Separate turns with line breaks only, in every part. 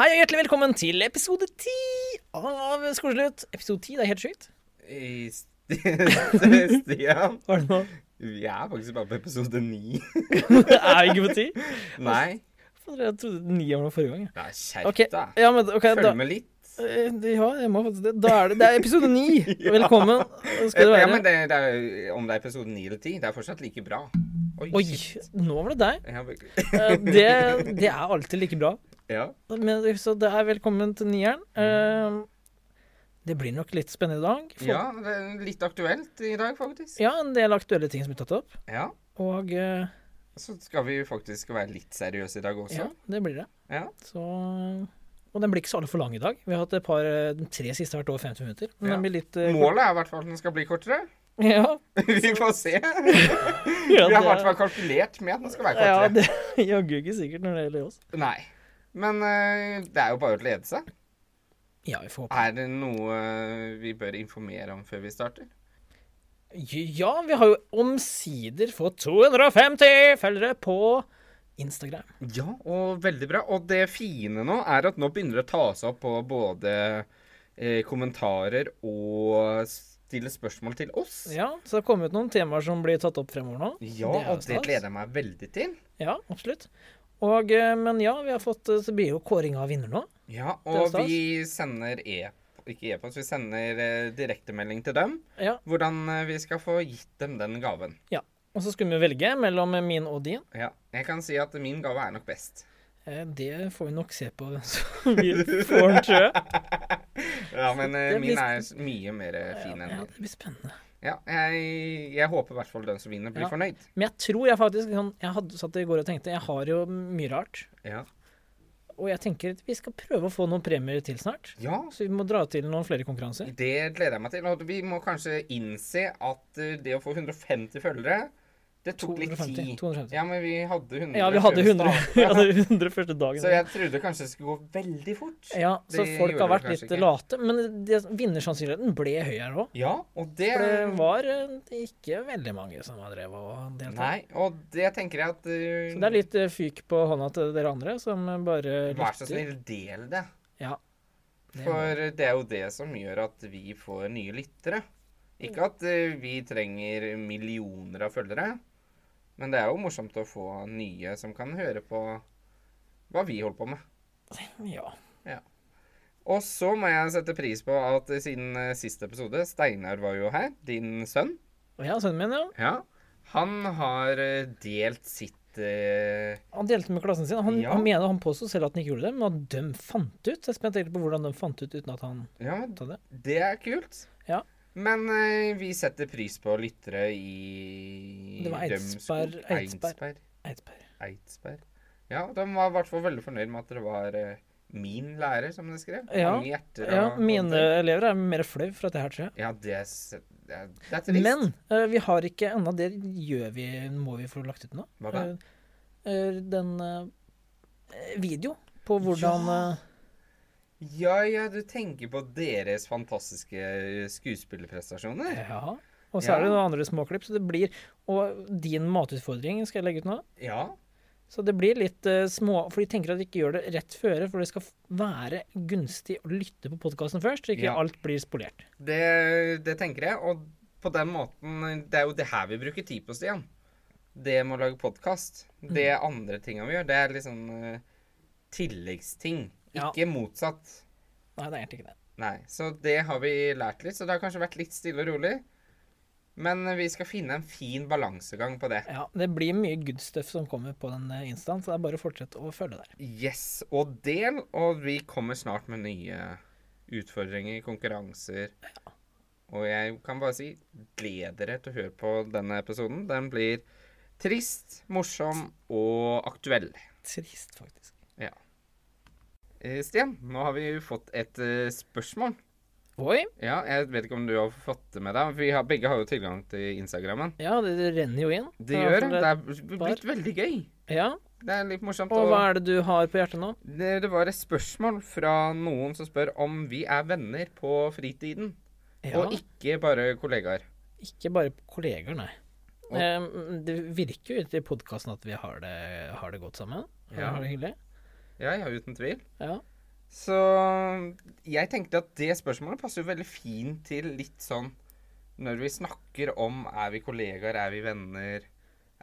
Hei og hjertelig velkommen til episode ti av Skoleslutt. Episode ti, det er helt sjukt.
I st- Stian,
Hva er det nå?
vi er faktisk bare på episode ni.
er vi ikke på ti?
Nei,
Fader, Jeg trodde ni var noe forrige gang. jeg.
nei
Ok,
skjerp deg.
ja, men, ok, da,
Følg med litt.
Eh, ja, jeg må faktisk det. Da er det, det er episode ni. Velkommen skal
Ja,
du være.
men det, det er, jo- om det er episode ni eller ti, det er fortsatt like bra. Oi,
Oi,
shit.
nå var det deg.
Ja, be-
Eh, Det, det er alltid like bra.
ja.
Men, så det er velkommen til nieren. Eh, Det blir nok litt spennende i dag. Folk-
ja, det er litt aktuelt i dag, faktisk.
ja, en del aktuelle ting som er tatt opp.
Ja.
Og eh,
Så skal vi faktisk være litt seriøse i dag også.
ja, det blir det.
Ja.
Så, og den blir ikke så altfor lang i dag. Vi har hatt et par, eh, de tre siste har vært over 50 minutter. Men
Ja.
den blir litt eh, kort.
Målet er i hvert fall at den skal bli kortere.
Ja,
Vi får se.
ja,
Vi har i hvert
det,
fall kalkulert med at den skal være
ja,
kortere.
det er jaggu ikke sikkert når det gjelder oss.
Nei. Men eh, det er jo bare å glede seg.
Ja, vi får håpe.
Er det noe vi bør informere om før vi starter?
Ja, vi har jo omsider fått 250 følgere på Instagram.
Ja, og veldig bra. Og det fine nå er at nå begynner det å ta seg opp på både eh, kommentarer og stille spørsmål til oss.
Ja, Så det har kommet noen temaer som blir tatt opp fremover nå.
Ja,
Det er jo
og det
stas.
gleder jeg meg veldig til.
Ja, absolutt. Og, eh, men ja, vi har fått, eh, så blir jo kåring av vinner nå.
Ja,
er
og
stas.
vi sender e... Ikke e-post, vi sender eh, direktemelding til dem.
Ja,
Hvordan eh, vi skal få gitt dem den gaven.
ja. Og så skulle vi velge mellom min og din.
Ja, jeg kan si at min gave er nok best.
Eh, Det får vi nok se på hvem som vi får den, tror jeg.
Ja, men eh,
Det blir
min er mye mer eh, fin enn
Ja,
din.
det blir spennende.
Ja, jeg, jeg håper i hvert fall den som vinner, blir
Ja.
fornøyd.
Men jeg tror jeg faktisk sånn, Jeg hadde satt i går og tenkte Jeg har jo mye rart.
Ja.
Og jeg tenker at vi skal prøve å få noen premier til snart.
ja,
Så vi må dra til noen flere konkurranser.
det gleder jeg meg til. Og vi må kanskje innse at eh, det å få 150 følgere, det tok litt
250.
tid.
250.
Ja, men vi hadde 100.
Ja, vi hadde
før
100,
startet.
vi hadde 100 første dagen.
Så jeg trodde kanskje det skulle gå veldig fort.
Ja, så
Det
folk
gjorde
har
det
vært
kanskje
litt
ikke.
late. Men det- vinnersannsynligheten ble høy her òg.
Ja, og det,
For det var eh, ikke veldig mange som har drevet og deltatt.
Nei, og det tenker jeg at eh,
Så det er litt eh, fyk på hånda til dere andre som eh, bare
Vær så
lytter.
snill, del det.
Ja. Det må-
For det er jo det som gjør at vi får nye lyttere.
Mm.
Ikke at eh, vi trenger millioner av følgere, men det er jo morsomt å få nye som kan høre på hva vi holder på med.
Ja.
Og så må jeg sette pris på at eh, siden eh, siste episode, Steinar var jo her, din sønn,
Og jeg og sønnen min, ja.
ja, han har eh, delt sitt eh,
Han delte med klassen sin. Han,
Ja.
han mener han påsto selv at han ikke gjorde det, men at de fant ut. Så jeg er spent egentlig på hvordan de fant ut uten at han
Ja,
sa det.
det er kult.
Ja.
Men eh, vi setter pris på lyttere i
Det var Eidsberg-
Rømskog.
Eidsberg.
Eidsberg.
Eidsberg.
Eidsberg. Ja, de var i hvert fall veldig fornøyd med at det var eh, min lærer, som de skrev.
Ja,
Mange hjerter.
Ja,
og-
mine elever er mer flau for at det her skjer.
Ja, det, er s- det er det er trist.
Men eh, vi har ikke ennå Det gjør vi, må vi få lagt ut nå.
Hva da?
Eh, eh, den eh, video på hvordan
Ja.
eh,
Ja, ja, du tenker på deres fantastiske eh, skuespillerprestasjoner.
eh, Ja. Og så er det noen andre småklipp, så det blir Og din matutfordring skal jeg legge ut nå.
Ja.
Så det blir litt eh, små For de tenker at de ikke gjør det rett føre, for det skal f- være gunstig å lytte på podkasten først, så ikke
Ja.
alt blir spolert.
Det, det tenker jeg. Og på den måten Det er jo det her vi bruker tid på, Stian. Det med å lage podkast. Det
Mm.
andre tinga vi gjør, det er liksom eh, tilleggsting.
Ja.
Ikke motsatt.
Nei, det er egentlig ikke det.
Nei. Så det har vi lært litt. Så det har kanskje vært litt stille og rolig. Men vi skal finne en fin balansegang på det.
Ja, Det blir mye good stuff som kommer på den eh, instaen, så det er bare å fortsette å følge der.
Yes og del, og vi kommer snart med nye utfordringer, konkurranser. Og jeg kan bare si gled dere til å høre på denne episoden. Den blir trist, morsom og aktuell.
Trist, faktisk.
Eh, Stian, nå har vi fått et eh, spørsmål.
Oi!
Ja, jeg vet ikke om du har fått det med deg. for Vi har, begge har jo tilgang til Instagrammen.
Ja, det, det renner jo inn.
Det
Ja,
gjør
for
det. er blitt veldig gøy.
Ja.
Det er litt morsomt.
Og hva er det du har på hjertet nå?
Det, det var et spørsmål fra noen som spør om vi er venner på fritiden,
Ja,
og ikke bare kollegaer.
ikke bare kolleger, nei.
Og-
Eh, Det virker jo ut i podkasten at vi har det, har det godt sammen.
Ja.
Har det hyggelig.
Ja, ja, uten tvil.
Ja.
Så jeg tenkte at det spørsmålet passer jo veldig fint til litt sånn Når vi snakker om er vi kollegaer, er vi venner,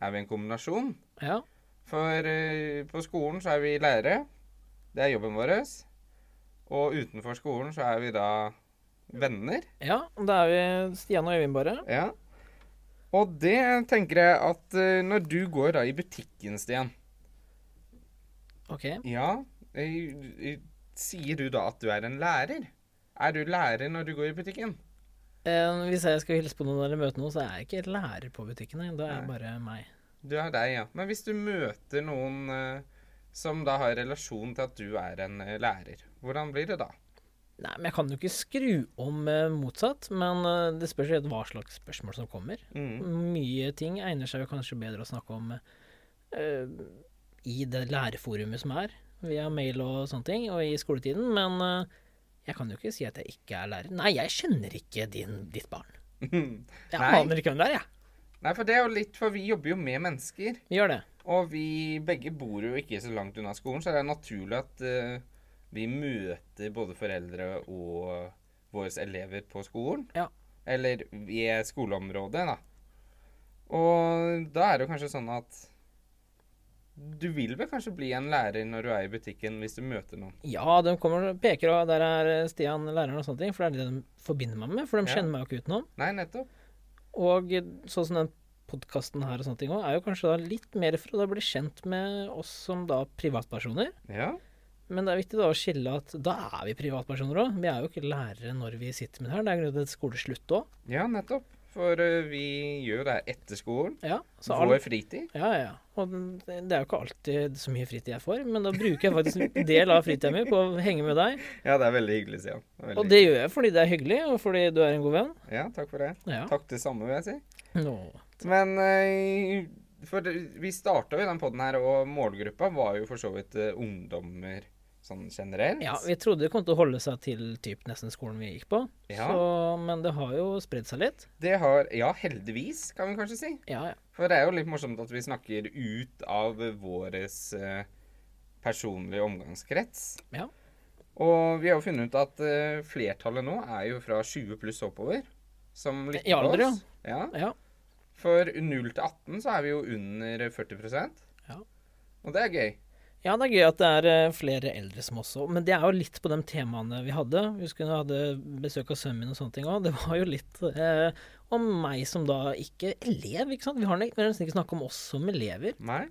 er vi en kombinasjon?
Ja.
For eh, på skolen så er vi lærere. Det er jobben vår. Og utenfor skolen så er vi da venner.
ja. Da er vi Stian og Øyvind, bare.
Ja. Og det tenker jeg at eh, når du går da i butikken, Stian
OK.
Ja, eh, eh, sier du da at du er en lærer? Er du lærer når du går i butikken?
Eh, hvis jeg skal hilse på noen eller møte noen, så er jeg ikke lærer på butikken. nei. Da er jeg bare meg.
Du er deg, ja. Men hvis du møter noen eh, som da har relasjon til at du er en eh, lærer, hvordan blir det da?
Nei, men jeg kan jo ikke skru om eh, motsatt. Men eh, det spørs helt hva slags spørsmål som kommer.
Mm.
Mye ting egner seg jo kanskje bedre å snakke om eh, i det læreforumet som er, via mail og sånne ting, og i skoletiden. Men eh, jeg kan jo ikke si at jeg ikke er lærer. Nei, jeg kjenner ikke din, ditt barn. Jeg
Nei.
aner ikke hvem det er, jeg.
Nei, for det er jo litt, for vi jobber jo med mennesker.
Vi gjør det.
Og vi begge bor jo ikke så langt unna skolen, så det er naturlig at eh, vi møter både foreldre og våre elever på skolen.
Ja.
Eller i skoleområdet, da. Og da er det jo kanskje sånn at du vil vel kanskje bli en lærer når du er i butikken, hvis du møter noen.
Ja, de kommer og peker, og der er eh, Stian læreren og sånne ting. For det er det de forbinder meg med, for de
Ja.
kjenner meg jo ikke utenom.
Nei, nettopp.
Og eh, sånn som den podkasten her og sånne ting også, er jo kanskje da litt mer for å da bli kjent med oss som da privatpersoner.
Ja.
Men det er viktig da å skille at da er vi privatpersoner òg. Vi er jo ikke lærere når vi sitter med det her. Det er grunnet til et skoleslutt òg.
Ja, nettopp. For eh, vi gjør jo det her etter skolen.
Ja, så all-
Vår fritid.
ja, ja. Og den- det er jo ikke alltid så mye fritid jeg får, men da bruker jeg faktisk en del av fritida mi på å henge med deg.
Ja, det er veldig hyggelig, Stian. Det er veldig
Og det gjør jeg fordi det er hyggelig, og fordi du er en god venn.
hyggelig. Ja, takk for det.
Ja.
Takk det samme, vil jeg si.
Nå.
Men eh, for det- vi starta jo den poden her, og målgruppa var jo for så vidt eh, ungdommer sånn generelt.
Ja, vi trodde det kom til å holde seg til typ nesten skolen vi gikk på,
Ja.
så, men det har jo spredd seg litt.
Det har Ja, heldigvis, kan vi kanskje si.
Ja, ja.
For det er jo litt morsomt at vi snakker ut av våres eh, personlige omgangskrets.
Ja.
Og vi har jo funnet ut at eh, flertallet nå er jo fra 20 pluss oppover. Som lytter
I alder,
til oss. Ja.
ja.
For 0 til 18 så er vi jo under 40
Ja.
Og det er gøy.
Ja, det er gøy at det er eh, flere eldre som også Men det er jo litt på de temaene vi hadde. Vi husker jeg hadde besøk av sønnen min og sånne ting òg. Det var jo litt eh, om meg som da ikke Elev, ikke sant? Vi har ne- vi har nesten ikke snakket om oss som elever.
Nei.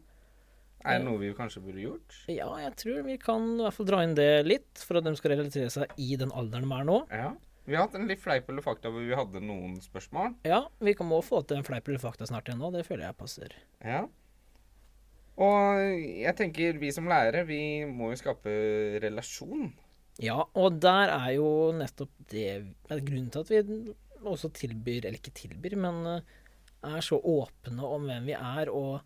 Er det noe vi kanskje burde gjort?
Ja, jeg tror vi kan i hvert fall dra inn det litt, for at de skal relatere seg i den alderen de er nå.
Ja. Vi har hatt en litt fleip eller fakta hvor vi hadde noen spørsmål.
Ja, vi kan må få til en fleip eller fakta snart igjen nå. Det føler jeg passer.
Ja. Og jeg tenker vi som lærere, vi må jo skape relasjon.
Ja, og der er jo nettopp det er grunnen til at vi også tilbyr, eller ikke tilbyr, men eh, er så åpne om hvem vi er, og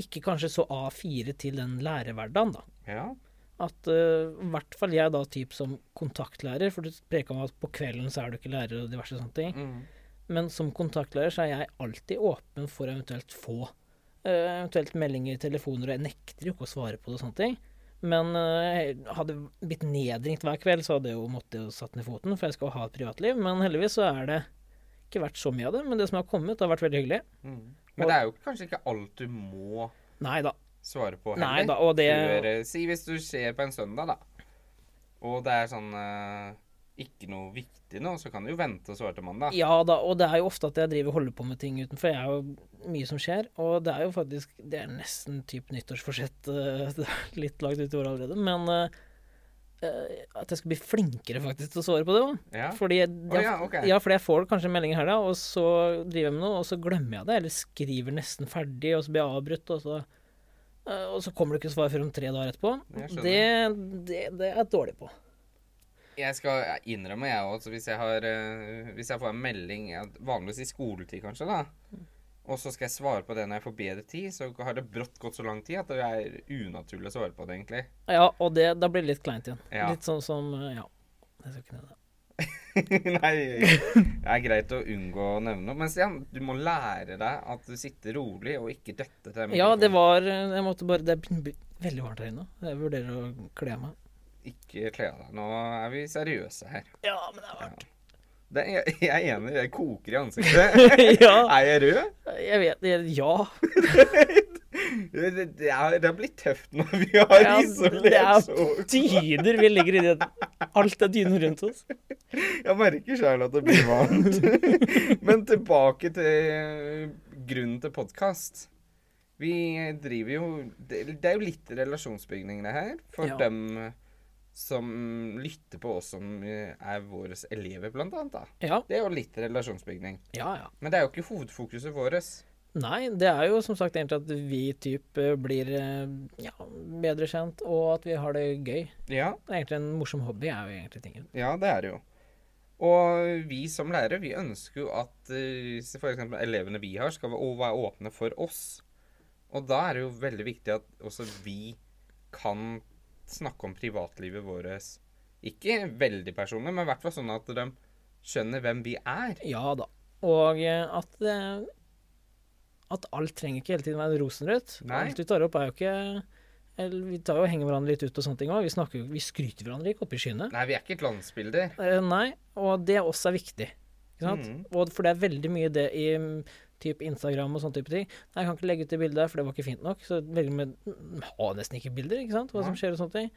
ikke kanskje så A4 til den lærerhverdagen, da.
Ja.
At eh, i hvert fall jeg da typ som kontaktlærer, for du preka om at på kvelden så er du ikke lærer og diverse sånne ting,
Mm.
men som kontaktlærer så er jeg alltid åpen for eventuelt få eh, eventuelt meldinger, telefoner, og jeg nekter jo ikke å svare på det og sånne ting. Men eh, hadde jeg blitt nedringt hver kveld, så hadde jeg jo måttet jo satt ned foten, for jeg skal jo ha et privatliv. Men heldigvis så er det ikke vært så mye av det. Men det som har kommet, har vært veldig hyggelig.
Mm. Men det er jo kanskje ikke alt du må
Nei da.
svare på
Nei da, og det
Før, eh, si hvis du ser på en søndag, da, og det er sånn eh, ikke noe viktig nå, så kan du jo vente og svare til mandag.
Ja da, og det er jo ofte at jeg driver og holder på med ting utenfor. Jeg er jo mye som skjer, og det er jo faktisk Det er nesten typ nyttårsforsett eh, det er litt langt ut i året allerede, men eh, eh, at jeg skal bli flinkere faktisk til å svare på det òg.
Ja.
Fordi jeg,
Å ja, ok.
ja, fordi jeg får kanskje en melding her, da, og så driver jeg med noe, og så glemmer jeg det, eller skriver nesten ferdig, og så blir jeg avbrutt, og så, eh, og så kommer det ikke svar før om tre dager etterpå.
Jeg skjønner.
Det, det, det er jeg dårlig på.
Jeg skal innrømme, jeg òg, hvis, jeg har, eh, hvis jeg får en melding ja, Vanligvis i skoletid, kanskje, da. Og så skal jeg svare på det når jeg får bedre tid, så har det brått gått så lang tid at det er unaturlig å svare på det, egentlig.
Ja, og det, da blir det litt kleint igjen.
Ja.
Litt sånn som eh, Ja. Jeg skal ikke nevne det.
Nei, det er greit å unngå å nevne noe. Men Stian, du må lære deg at du sitter rolig og ikke døtter til mikrofonen.
Ja, det var Jeg måtte bare Det er b- b- veldig varmt her inne. Jeg vurderer å kle av meg.
Ikke kle av deg. Nå er vi seriøse her.
Ja, men det er varmt.
Det er, jeg er enig. Jeg koker i ansiktet.
ja.
Er jeg rød?
Jeg vet jeg- Ja.
Det, det, det er, det har blitt tøft når vi har
Ja, det
isolert så
er dyner vi ligger i det. Alt er dyner rundt oss.
Jeg merker sjøl at det blir varmt. Men tilbake til grunnen til podkast. Vi driver jo Det det er jo litt relasjonsbygning, det her. For
Ja.
dem som lytter på oss som er våre elever, blant annet. Da.
Ja,
Det er jo litt relasjonsbygning.
ja, ja.
Men det er jo ikke hovedfokuset vårt.
Nei, det er jo som sagt egentlig at vi typ eh, blir eh, ja, bedre kjent, og at vi har det gøy.
Ja,
Det er Egentlig en morsom hobby er jo egentlig tingen.
ja, det er det jo. Og vi som lærere, vi ønsker jo at eh, se for eksempel elevene vi har, skal være å være åpne for oss. Og da er det jo veldig viktig at også vi kan snakke om privatlivet vårt. Ikke veldig personlig, men i hvert fall sånn at de skjønner hvem vi er.
Ja da. Og eh, at eh, at alt trenger ikke hele tiden være rosenrødt.
Nei.
Alt vi tar opp er jo ikke eller Vi tar jo og henger hverandre litt ut og sånne ting òg. Vi, snakker jo- vi skryter hverandre ikke opp i skyene.
Nei, vi er ikke et glansbilde.
Eh, nei, og det også er viktig. Ikke sant?
Mhm.
Og for det er veldig mye det i mm, typ Instagram og sånne type ting. Nei, jeg kan ikke legge ut det bildet, her, for det var ikke fint nok. Så veldig med mm, ha nesten ikke bilder, ikke sant. Hva som
Nei.
skjer og sånne ting.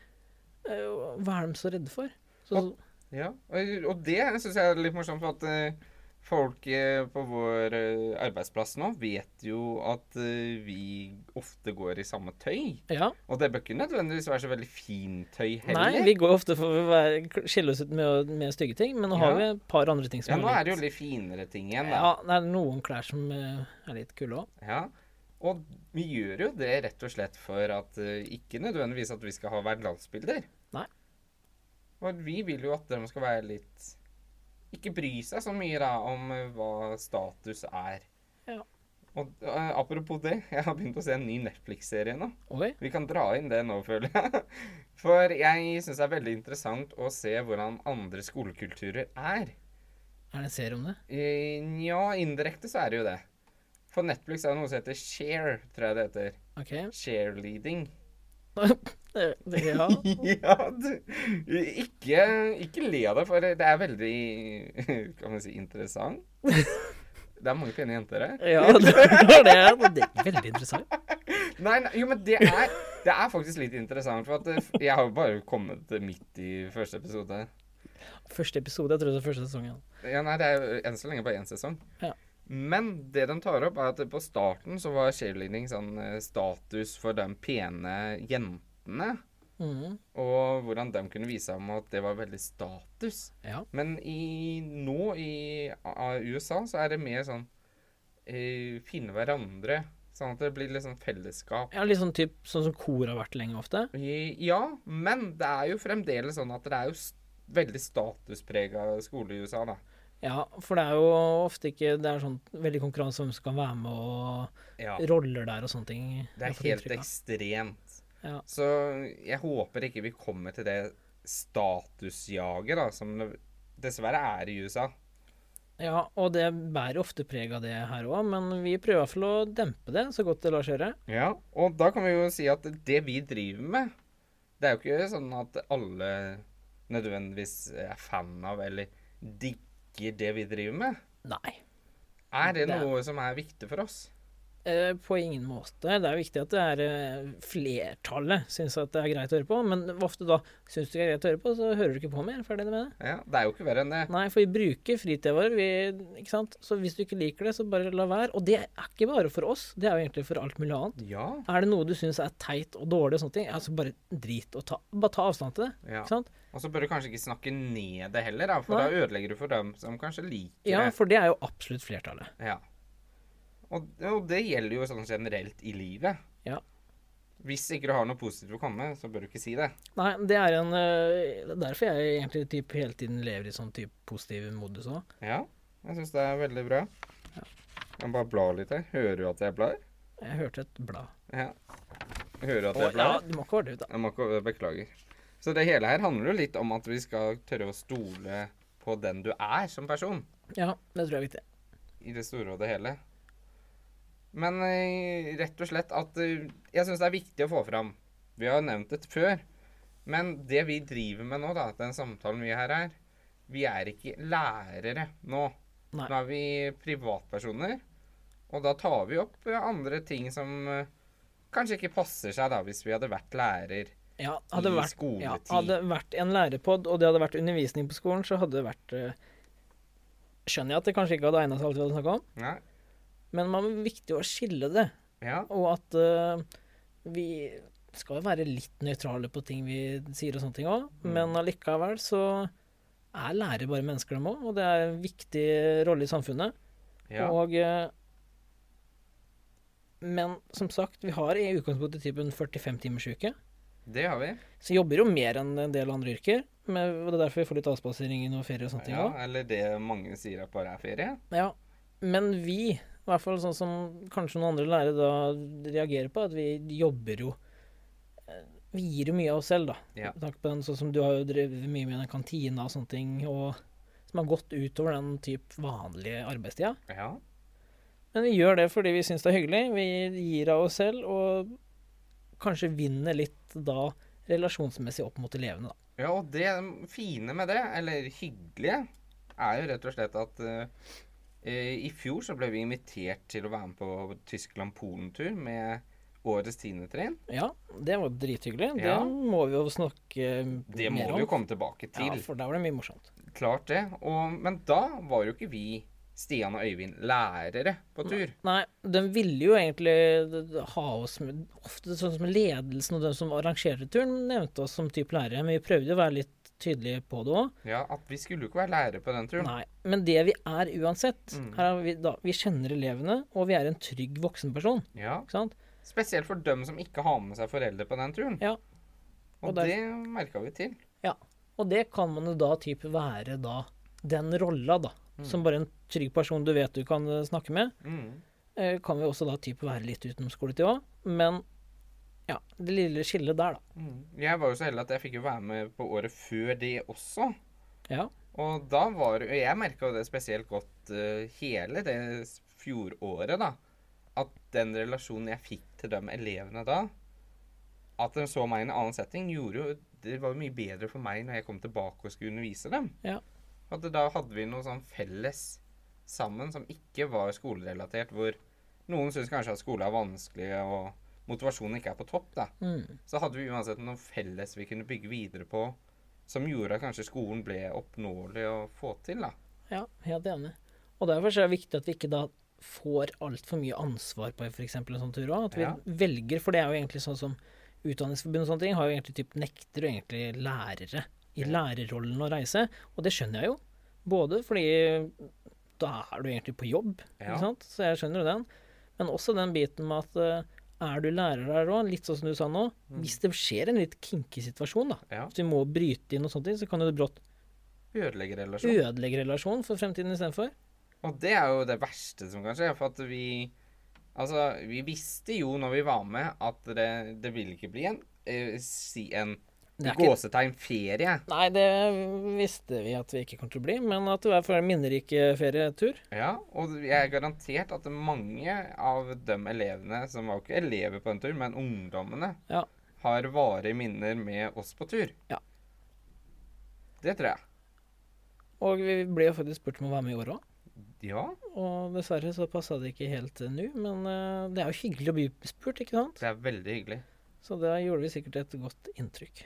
Eh, og Hva er de så redde for? Så,
Og- Ja, og, og det syns jeg er litt morsomt, for at eh, folk eh, på vår eh, arbeidsplass nå vet jo at eh, vi ofte går i samme tøy.
ja.
Og det bør ikke nødvendigvis være så veldig fintøy heller.
Nei, vi går ofte for å være- skille oss ut med, å- med stygge ting, men nå har
Ja.
vi et par andre ting som
Ja, nå er det jo
litt
litt finere ting igjen, da.
Ja, det er noen klær som eh, er litt kule òg.
Ja. Og vi gjør jo det rett og slett for at eh, ikke nødvendigvis at vi skal ha hverdagsbilder.
Nei.
For vi vil jo at de skal være litt Ikke bry seg så mye da om eh, hva status er.
Ja.
Og eh, apropos det, jeg har begynt å se en ny Netflix-serie nå.
Oi.
Vi kan dra inn det nå, føler jeg. For jeg syns det er veldig interessant å se hvordan andre skolekulturer er.
Er det en serie om det?
Eh, Nja, indirekte så er det jo det. For Netflix er det noe som heter share, tror jeg det heter.
OK.
Shareleading.
Det- det- Ja.
ja, du, ikke, ikke le av det, for det er veldig Kan man si interessant? Det er mange pene jenter her.
ja det, var det, det er veldig interessant.
Nei, nei, jo, men det er, det er faktisk litt interessant, for at eh, jeg har jo bare kommet midt i første episode.
Første episode, jeg tror det er første sesongen.
Ja, nei, det er jo enn så lenge bare én sesong.
Ja.
Men det de tar opp, er at på starten så var cheerleading sånn eh, status for de pene jentene.
Mhm.
Og hvordan de kunne vise om at det var veldig status.
Ja.
Men i, nå i A- A- USA så er det mer sånn eh, finne hverandre. Sånn at det blir litt sånn fellesskap.
ja, litt sånn typ, sånn som kor har vært lenge ofte.
I- Ja, men det er jo fremdeles sånn at det er jo s- veldig statusprega skole i USA, da.
Ja, for det er jo ofte ikke Det er sånn veldig konkurranse om hvem som kan være med, og
Ja.
roller der og sånne ting.
Det
Jeg
er
har fått
helt
inntrykk av.
ekstremt.
Ja.
Så jeg håper ikke vi kommer til det statusjaget da, som det dessverre er i USA.
Ja, og det bærer jo ofte preg av det her òg, men vi prøver i hvert fall å dempe det så godt det lar seg gjøre.
Ja, og da kan vi jo si at det vi driver med, det er jo ikke sånn at alle nødvendigvis er fan av eller digger det vi driver med.
Nei.
Er det
Det er-
noe som er viktig for oss?
Eh, på ingen måte. Det er viktig at det er eh, flertallet syns at det er greit å høre på, men ofte da syns du ikke det er greit å høre på, så hører du ikke på mer. Ferdig med det.
Ja, det er jo ikke verre enn det.
Nei, for vi bruker fritida vår, vi, ikke sant. Så hvis du ikke liker det, så bare la være. Og det er ikke bare for oss, det er jo egentlig for alt mulig annet.
Ja,
Er det noe du syns er teit og dårlig og sånne ting, ja, så bare drit og ta, bare ta avstand til det.
ja.
Ikke sant?
Og så bør du kanskje ikke snakke ned det heller, da, for
Nei.
da ødelegger du for dem som kanskje liker
Ja,
det.
for det er jo absolutt flertallet.
Ja. Og, og det gjelder jo sånn generelt i livet.
Ja.
Hvis ikke du har noe positivt å komme med, så bør du ikke si det.
Nei, det er en øh, det er Derfor jeg egentlig typ, hele tiden lever i sånn typ positiv modus òg.
Ja, jeg syns det er veldig bra. Jeg må bare bla litt her. Hører du at jeg blar?
Jeg hørte et blad.
Ja. Hører du at
Å,
jeg
ja,
blar?
du må ikke være det ut, da.
Jeg må ikke beklager. Så det hele her handler jo litt om at vi skal tørre å stole på den du er som person.
Ja, det tror jeg er viktig.
I det store og det hele. Men eh, rett og slett at eh, Jeg syns det er viktig å få fram. Vi har nevnt det før. Men det vi driver med nå, da, den samtalen vi her er, vi er ikke lærere nå.
Nei.
Nå er vi privatpersoner, og da tar vi opp eh, andre ting som eh, kanskje ikke passer seg da, hvis vi hadde vært lærer.
Ja, hadde
I
vært, ja,
skoletid.
hadde vært en lærerpod, og det hadde vært undervisning på skolen, så hadde det vært eh, Skjønner jeg at det kanskje ikke hadde egna seg alt vi hadde snakka om,
Ja,
men man er viktig å skille det.
ja,
Og at eh, vi skal jo være litt nøytrale på ting vi sier og sånne ting òg,
Mm.
men allikevel så er lærere bare mennesker, dem òg, og det er en viktig rolle i samfunnet.
ja.
Og eh, Men som sagt, vi har i utgangspunktet typen 45 timers uke.
Det har vi.
Så jeg jobber jo mer enn en del andre yrker. Men og det er derfor vi får litt avspasering og ferie og sånne ting
Ja,
òg.
eller det mange sier at bare er ferie.
Ja. Men vi, i hvert fall sånn som kanskje noen andre lærere da reagerer på, at vi jobber jo eh, Vi gir jo mye av oss selv, da.
Ja.
Med tanke på den, sånn som du har jo drevet mye med den kantina og sånne ting, og som har gått utover den typ vanlige arbeidstida.
Ja,
Men vi gjør det fordi vi syns det er hyggelig. Vi gir av oss selv, og kanskje vinner litt da relasjonsmessig opp mot elevene, da.
Ja, og det fine med det, eller hyggelige, er jo rett og slett at eh, eh, i fjor så ble vi invitert til å være med på Tyskland-Polen-tur med årets tiendetrinn.
Ja, det var drithyggelig. Det
Ja.
må vi jo snakke
Det må
mer om.
vi jo komme tilbake til.
Ja, for der var det mye morsomt.
Klart det. Og, men da var jo ikke vi, Stian og Øyvind, lærere på tur.
Nei, de ville jo egentlig ha oss med Ofte sånn som ledelsen og de som arrangerte turen, nevnte oss som type lærere, men vi prøvde å være litt tydelige på det òg.
Ja, at vi skulle jo ikke være lærere på den turen.
Nei. Men det vi er uansett her er vi, da, vi kjenner elevene, og vi er en trygg voksenperson.
Ja,
Ikke sant?
Spesielt for dem som ikke har med seg foreldre på den turen.
Ja.
Og,
og der-
det merka vi til.
Ja. Og det kan man jo da type være da den rolla, da. Som bare en trygg person du vet du kan eh, snakke med.
Mm.
eh, kan vi også da type være litt utenom skoletid òg. Men ja, det lille skillet der, da.
Mm. Jeg var jo så heldig at jeg fikk jo være med på året før det også.
Ja.
Og da var og Jeg merka jo det spesielt godt eh, hele det s- fjoråret, da. At den relasjonen jeg fikk til de elevene da, at de så meg i en annen setting, gjorde jo Det var jo mye bedre for meg når jeg kom tilbake og skulle undervise dem.
Ja.
At da hadde vi noe sånn felles sammen som ikke var skolerelatert, hvor noen syns kanskje at skole er vanskelig, og motivasjonen ikke er på topp, da
Mm.
så hadde vi uansett noe felles vi kunne bygge videre på, som gjorde at kanskje skolen ble oppnåelig å få til, da.
ja helt enig. Og derfor så er det viktig at vi ikke da får altfor mye ansvar på f.eks. en sånn tur òg. At vi
Ja.
velger, for det er jo egentlig sånn som Utdanningsforbundet og sånne ting har jo egentlig typ nekter jo egentlig lærere i lærerrollen å reise. Og det skjønner jeg jo. Både fordi da er du egentlig på jobb,
Ja.
ikke sant? så jeg skjønner jo den. Men også den biten med at eh, er du lærer der òg, litt sånn som du sa nå Hvis det skjer en litt kinky situasjon, da,
Mm. Ja.
hvis vi må bryte inn og sånne ting, så kan jo det brått
Ødelegge relasjonen.
ødelegge relasjonen for fremtiden istedenfor.
Og det er jo det verste som kan skje, for at vi Altså, vi visste jo når vi var med, at det, det ville ikke bli en eh, si en
Det er ikke-
gåsetegn ferie.
Nei, det visste vi at vi ikke kom til å bli, men at det var for en minnerik eh, ferietur.
Ja, og jeg er garantert at mange av de elevene, som var jo ikke elever på en tur, men ungdommene,
Ja.
har varige minner med oss på tur.
Ja.
Det tror jeg.
Og vi ble jo faktisk spurt om å være med i år òg.
Ja,
Og dessverre så passa det ikke helt eh, nå, men eh, det er jo hyggelig å bli spurt, ikke sant?
det er veldig hyggelig.
Så da gjorde vi sikkert et godt inntrykk.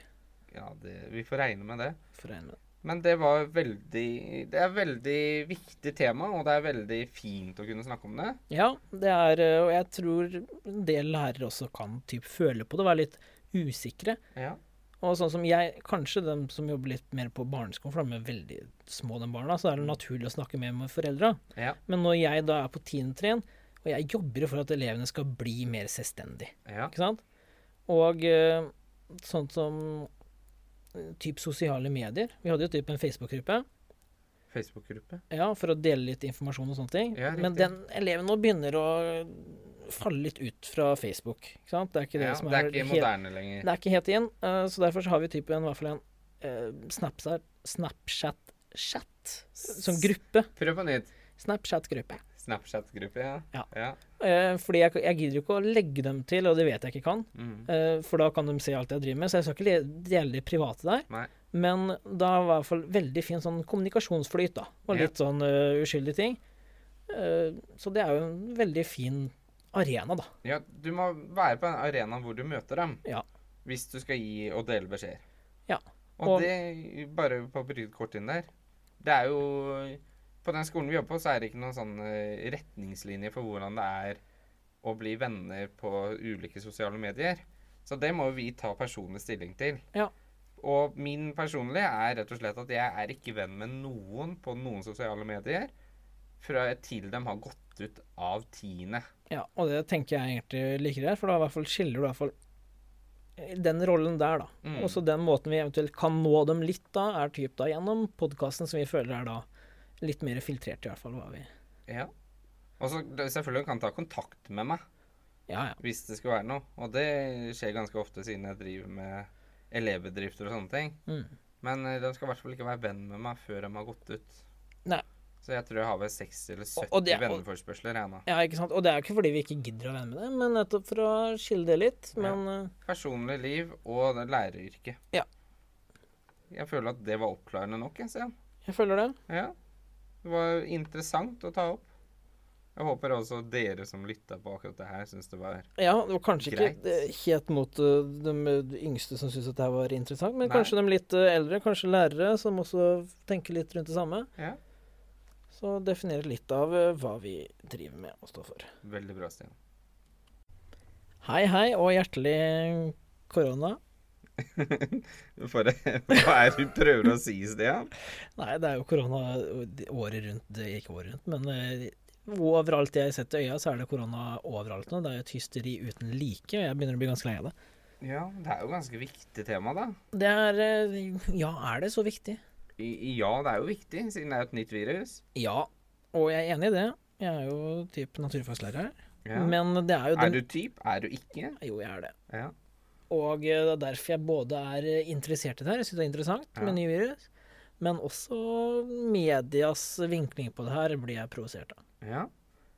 Ja, det, vi får regne med det.
For å regne med.
Men det var veldig Det er et veldig viktig tema, og det er veldig fint å kunne snakke om det.
Ja, det er eh, Og jeg tror en del lærere også kan typ føle på det, være litt usikre.
Ja.
Og sånn som jeg, kanskje dem som jobber litt mer på barneskolen, for de er veldig små, de barna, så er det naturlig å snakke mer med foreldra.
Ja.
Men når jeg da er på 10. trinn, og jeg jobber jo for at elevene skal bli mer selvstendige,
Ja.
ikke sant? Og eh, sånt som eh, typ sosiale medier. Vi hadde jo typ en Facebook-gruppe
Facebook-gruppe.
ja, for å dele litt informasjon og sånne ting.
Ja, riktig.
Men den eleven nå begynner å falle litt ut fra Facebook. Ikke sant? Det er ikke det
Ja,
som
det er ikke
helt-
moderne lenger.
det er ikke helt inn, eh, så derfor så har vi typen, i hvert fall en eh, Snapchat- Snapchat-chat som gruppe.
Prøv på nytt.
Snapchat-gruppe.
Snapchat-gruppe, ja.
Ja.
ja.
Eh, fordi jeg, jeg gidder jo ikke å legge dem til, og det vet jeg ikke kan.
Mm.
Eh, for da kan de se alt jeg driver med, så jeg skal ikke le- dele det private der.
Nei.
Men da var det i hvert fall veldig fin sånn kommunikasjonsflyt, da. Og
Ja.
litt sånn eh, uskyldige ting. Eh, så det er jo en veldig fin arena, da.
ja. Du må være på en arena hvor du møter dem.
Ja.
Hvis du skal gi og dele beskjeder.
Ja.
Og,
Og-
det, bare på brytkortet inn der Det er jo På den skolen vi jobber på, så er det ikke noen sånn eh, retningslinje for hvordan det er å bli venner på ulike sosiale medier. Så det må jo vi ta personlig stilling til.
Ja.
Og min personlige er rett og slett at jeg er ikke venn med noen på noen sosiale medier fra til de har gått ut av tiende.
Ja, og det tenker jeg egentlig liker her, for da i hvert fall skiller du i hvert fall den rollen der, da.
Mm.
Og så den måten vi eventuelt kan nå dem litt da, er typ da gjennom podkasten, som vi føler er da litt mer filtrert, i hvert fall. Hva vi
Ja. Og så det- selvfølgelig kan ta kontakt med meg
Ja, ja.
hvis det skulle være noe. Og det skjer ganske ofte siden jeg driver med elevbedrifter og sånne ting.
Mm.
Men eh, de skal i hvert fall ikke være venn med meg før de har gått ut.
Nei.
Så jeg tror jeg har vel 60 eller 70
og det- og-
venneforspørsler jeg nå.
ja, ikke sant. Og det er jo ikke fordi vi ikke gidder å være med det, men nettopp for å skille det litt. Men eh,
Personlig liv og det læreryrket.
Ja.
Jeg føler at det var oppklarende nok, jeg, Stian.
jeg føler det.
Ja. Det var interessant å ta opp. Jeg håper også dere som lytta på akkurat det her, syns det var
Ja, det var kanskje
Greit.
ikke eh, helt mot eh, de eh, yngste som syntes at det her var interessant, men
Nei.
kanskje de litt eh, eldre, kanskje lærere, som også tenker litt rundt det samme.
ja.
Så definere litt av eh, hva vi driver med og står for.
veldig bra, Stian.
Hei, hei, og hjertelig korona.
For hva er det du prøver å si, Stian?
Nei, det er jo korona året rundt, det er ikke året rundt, men eh, overalt jeg setter øya, så er det korona overalt nå. Det er jo et hysteri uten like, og jeg begynner å bli ganske lei av det.
Ja, det er jo ganske viktig tema, da.
Det er eh, Ja, er det så viktig?
I, i- ja, det er jo viktig, siden det er et nytt virus.
Ja, og jeg er enig i det. Jeg er jo typ naturfagslærer.
Ja.
Men det er jo
Er
den
du typ? Er du ikke?
Jo, jeg er det.
Ja.
Og eh, det er derfor jeg både er eh, interessert i det her, jeg syns det er interessant
Ja.
med ny virus, men også medias vinkling på det her blir jeg provosert av.
ja.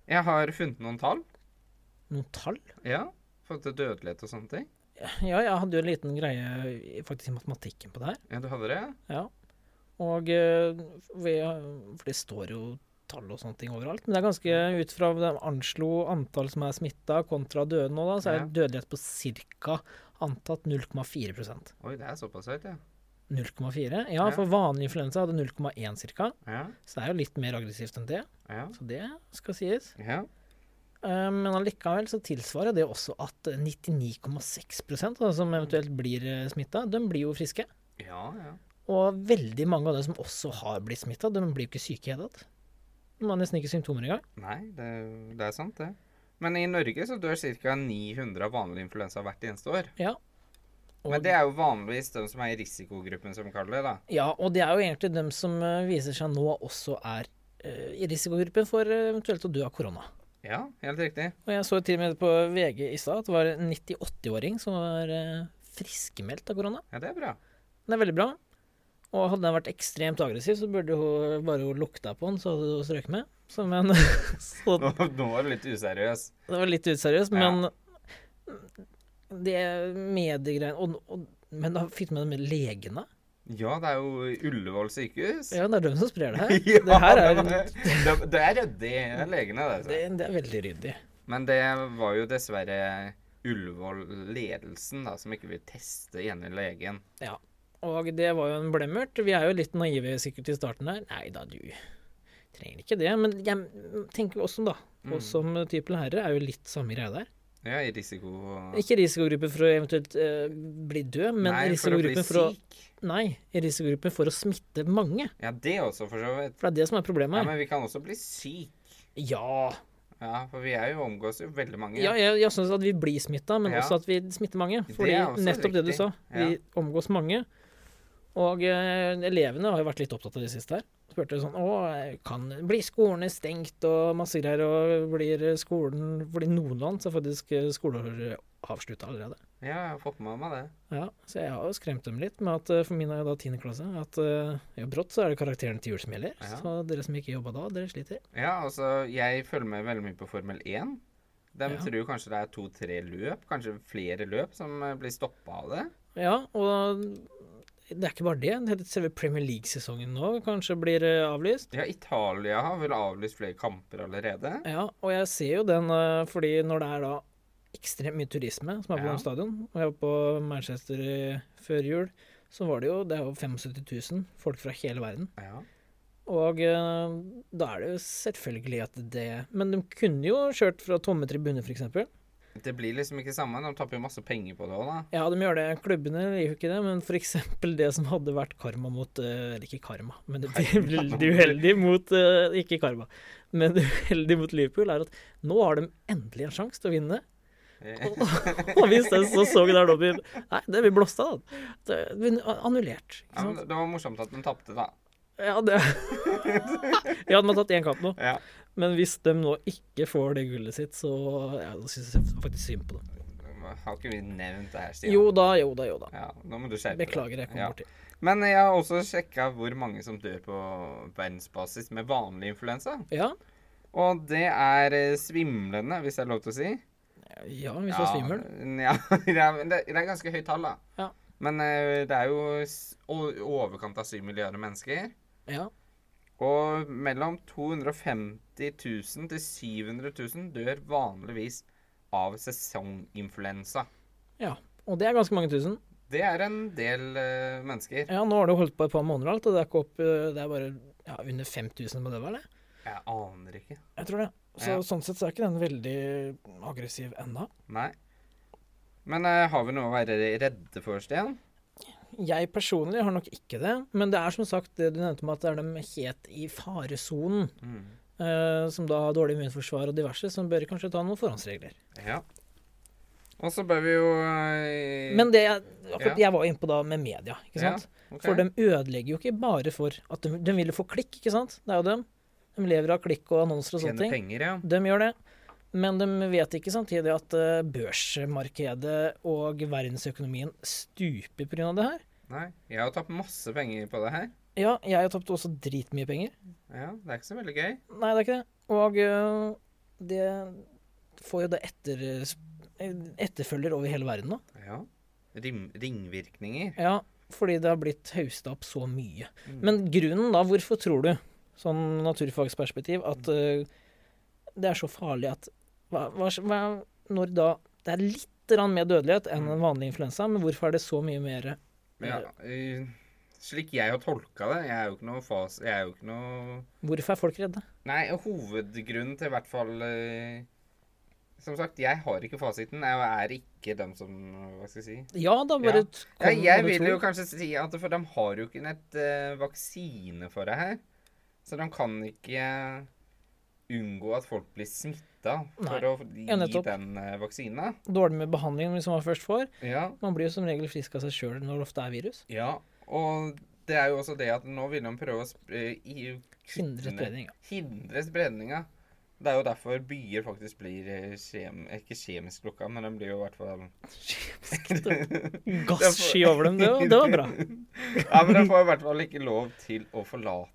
Jeg har funnet noen tall.
Noen tall?
Ja. Fått til dødelighet og sånne ting.
Ja, jeg hadde jo en liten greie i- faktisk i matematikken på det her.
Ja, du hadde det? ja?
Ja. Og eh, vi, For det står jo tall og sånne ting overalt. Men det er ganske ut fra de anslo antall som er smitta kontra døde nå, da, så er dødelighet på ca. antatt 0,4
Oi, det er såpass høyt, ja.
0,4? Ja,
Ja.
for vanlig influensa hadde 0,1 ca.
Ja.
Så det er jo litt mer aggressivt enn det.
Ja.
Så det skal sies.
ja.
Eh, Men allikevel så tilsvarer det også at 99,6 da, som eventuelt blir smitta, de blir jo friske.
Ja, ja.
Og veldig mange av dem som også har blitt smitta, de blir jo ikke syke i det hele tatt. De har nesten ikke symptomer engang.
Nei, det, det er sant, det. Men i Norge så dør ca. 900 av vanlig influensa hvert eneste år.
Ja. Og,
Men det er jo vanligvis de som er i risikogruppen, som vi kaller det, da.
ja, og det er jo egentlig dem som eh, viser seg nå også er eh, i risikogruppen for eh, eventuelt å dø av korona.
Ja, helt riktig.
Og jeg så til og med på VG i stad at det var en 98-åring som var eh, friskmeldt av korona.
Ja, det er bra.
Det er veldig bra. Og hadde den vært ekstremt aggressiv, så burde hun bare hun lukta på den, så hadde hun strøket med. Så, men, så
Nå, nå var du litt useriøs.
Det var litt useriøst,
Ja.
men det mediegreiene og, og, Men da fikk du med det med legene?
Ja, det er jo Ullevål sykehus.
Ja, det er dem som sprer det her.
Ja,
det her er
det, det- det er ryddig. Det er legene, det.
det,
altså.
det er veldig ryddig.
Men det var jo dessverre Ullevål-ledelsen da, som ikke vil teste ene legen.
Ja. Og det var jo en blemmert. Vi er jo litt naive sikkert i starten her. Nei da, du trenger ikke det. Men jeg tenker jo også, da.
Mm.
Oss som type lærere er jo litt samme greia der.
Ja, i risiko
Ikke risikogruppe for å eventuelt eh, bli død, men
Nei, for å bli
risikogruppe for å
syk.
Nei, risikogruppe for å smitte mange.
Ja, det også, for så vidt.
For det er det som er
Ja,
problemet. her.
men vi kan også bli syk.
Ja,
Ja, for vi er jo omgås jo veldig mange.
Ja, jeg, jeg syns at vi blir smitta, men
Ja.
også at vi smitter mange.
Det er
Fordi
også
nettopp det du
riktig.
sa, vi omgås mange. Og eh, elevene har jo vært litt opptatt av det siste her. spurte sånn Å, kan, blir skolene stengt og masse greier? Og blir skolen Fordi noen land så er faktisk eh, skoleåret avslutta allerede.
Ja, jeg har fått med meg det.
Ja, Så jeg har jo skremt dem litt med at eh, for min er jo da 10. klasse, at eh, ja, brått så er det karakteren til jul som gjelder.
Ja.
Så dere som ikke jobba da, dere sliter.
Ja, altså, jeg følger med veldig mye på Formel 1. De
Ja.
tror kanskje det er to-tre løp, kanskje flere løp, som eh, blir stoppa av det.
Ja, og det er ikke bare det. det er Selve Premier League-sesongen nå kanskje blir eh, avlyst.
Ja, Italia har vel avlyst flere kamper allerede.
Ja, og jeg ser jo den, eh, fordi når det er da ekstremt mye turisme som er på
Ja.
den stadion Og jeg var på Manchester eh, før jul, så var det jo det er jo 75 000 folk fra hele verden.
Ja.
Og eh, da er det jo selvfølgelig at det Men de kunne jo kjørt fra tomme tribuner, f.eks.
Det blir liksom ikke samme. De tapper jo masse penger på det òg, da.
Ja, de gjør det. Klubbene liker jo ikke det, men f.eks. det som hadde vært karma mot eh, Eller ikke karma, men det blir veldig uheldig mot eh, Ikke karma, men det uheldige mot Liverpool er at nå har de endelig en sjanse til å vinne.
Eh,
Og hvis den sesongen er dobbel Nei, det blir blåst av, da. Det blir annullert.
Ja,
Ikke
men
sant?
det var morsomt at de tapte, da.
Ja, det Ja, de har tatt én kamp nå,
Ja.
men hvis de nå ikke får det gullet sitt, så ja, da syns jeg faktisk synd på dem.
Har ikke vi nevnt det her, Stian?
Jo da, jo da, jo da.
Ja, nå må du skjerpe deg.
Beklager, jeg kom
Ja.
borti.
Men jeg har også sjekka hvor mange som dør på verdensbasis med vanlig influensa.
Ja,
Og det er eh, svimlende, hvis det er lov til å si.
ja, hvis du er svimmel.
Ja, det er, det er- det er ganske høyt tall, da.
Ja.
Men eh, det er jo s- o- i overkant av 7 milliarder mennesker.
Ja.
Og mellom 250 000 til 700 000 dør vanligvis av sesonginfluensa.
ja. Og det er ganske mange tusen.
Det er en del eh, mennesker.
Ja, nå har det holdt på et par måneder og alt, og det er ikke opp eh, Det er bare ja, under 5000 på det, vel?
Jeg aner ikke.
Jeg tror det. Så
Ja.
sånn sett så er ikke den veldig aggressiv ennå.
Nei. Men eh, har vi noe å være redde for, Stian?
Jeg personlig har nok ikke det, men det er som sagt det du nevnte med at det er dem helt i faresonen,
Mm.
eh, som da har dårlig immunforsvar og diverse, som bør kanskje ta noen forhåndsregler.
Ja. Og så bør vi jo eh,
Men det jeg, akkurat jeg var inne på da med media, ikke
Ja,
sant.
ok.
For de ødelegger jo ikke bare for at de, de vil jo få klikk, ikke sant. Det er jo dem. De lever av klikk og annonser og
Tjene
sånne ting.
penger, ja.
De gjør det. Men de vet ikke samtidig at eh, børsmarkedet og verdensøkonomien stuper pga. det her.
Nei. Jeg har tapt masse penger på det her.
Ja, jeg har tapt også dritmye penger.
Ja, Det er ikke så veldig gøy.
Nei, det er ikke det. Og øh, det får jo da etter, eh, etterfølger over hele verden nå.
Ja. Rim, ringvirkninger.
Ja, fordi det har blitt hausta opp så mye.
Mm.
Men grunnen, da, hvorfor tror du, sånn naturfagsperspektiv, at øh, det er så farlig at hva, hva, hva, Når da Det er litt grann mer dødelighet enn en vanlig influensa, men hvorfor er det så mye mer
Ja, eh, slik jeg har tolka det Jeg er jo ikke noe fas... Jeg er jo ikke noe
Hvorfor er folk redde?
Nei, hovedgrunnen til i hvert fall eh, Som sagt, jeg har ikke fasiten. Jeg er ikke dem som Hva skal jeg si?
Ja da,
Ja.
bare
Ja,
kom
jeg
med
vil
tro.
jo kanskje si at for de har jo ikke et eh, vaksine for det her. Så de kan ikke unngå at folk blir smitta
Nei.
for å gi
Ja, nettopp.
den eh, vaksina.
Dårlig med behandling hvis man først får.
Ja.
Man blir jo som regel frisk av seg sjøl når det ofte er virus.
ja. Og det er jo også det at nå vil de prøve å sp eh, i-
Hindre spredning. ja.
hindre spredninga. Det er jo derfor byer faktisk blir eh, kjem ikke kjemisk lukka, men de blir jo i hvert fall
Gassky over dem, det var, det var bra.
Ja, men de får i hvert fall ikke lov til å forlate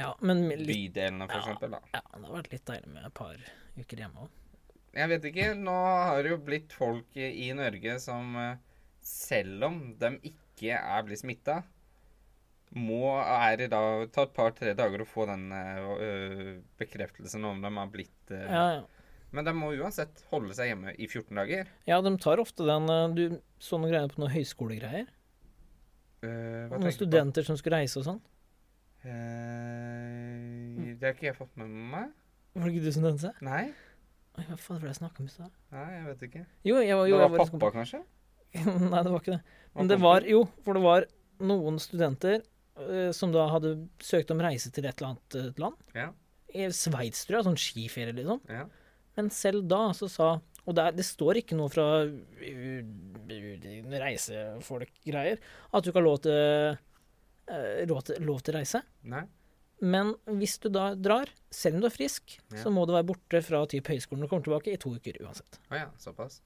Ja, men med litt,
bydelene, for
Ja.
eksempel, da.
ja, det har vært litt deilig med et par uker hjemme òg.
Jeg vet ikke. Nå har det jo blitt folk i Norge som eh, selv om de ikke er blitt smitta, må er det da ta et par-tre dager å få den eh, ø, bekreftelsen om de har blitt eh,
Ja, ja.
Men de må uansett holde seg hjemme i 14 dager.
ja, de tar ofte den eh, Du så noen greier på noen høyskolegreier?
Eh, hva
Noen
tenker du på?
studenter som skulle reise og sånn?
Eh, det har ikke jeg fått med meg.
Var det ikke du som nevnte det?
Nei,
Oi, Hva faen var det jeg snakka om i stad?
nei, jeg vet ikke.
Jo, jeg var, jo,
det
jeg
var
var liksom-
pappa, kanskje?
Nei, det var ikke det. Men
Og
det
pappa.
var jo, for det var noen studenter eh, som da hadde søkt om reise til et eller annet eh, land.
Ja.
I Sveits, tror jeg. Sånn skiferie, liksom.
Ja.
Men selv da så sa Og det, er, det står ikke noe fra eh, u- u- reisefolk-greier at du ikke har lov til eh, råd til- lov til å reise.
Nei.
Men hvis du da drar, selv om du er frisk,
Ja.
så må du være borte fra typ høyskolen når du kommer tilbake i to uker uansett.
Å ja, såpass.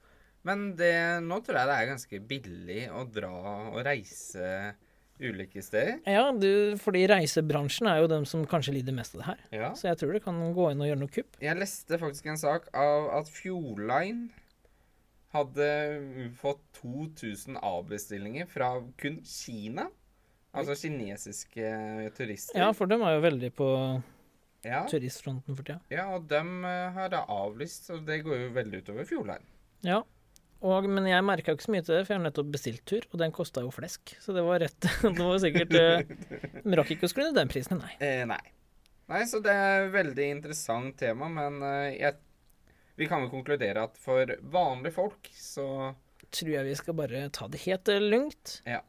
Men det, nå tror jeg det er ganske billig å dra og reise ulike steder.
Ja, du, fordi reisebransjen er jo dem som kanskje lider mest av det her.
Ja.
Så jeg tror det kan gå inn og gjøre noe kupp.
Jeg leste faktisk en sak av at Fjordline hadde fått 2000 avbestillinger fra kun Kina. Altså kinesiske turister.
Ja, for dem er jo veldig på
ja.
turistfronten for tida.
ja og dem eh, har da avlyst, og det går jo veldig utover Fjordline.
Ja. Og, men jeg merka ikke så mye til det, for jeg har nettopp bestilt tur, og den kosta jo flesk. Så det var rett Det var sikkert eh, De rakk ikke å skru ned den prisen, nei.
Eh, nei. Nei, så det er et veldig interessant tema, men eh, jeg, vi kan vel konkludere at for vanlige folk så
Tror jeg vi skal bare ta det helt eh, lugnt.
Ja.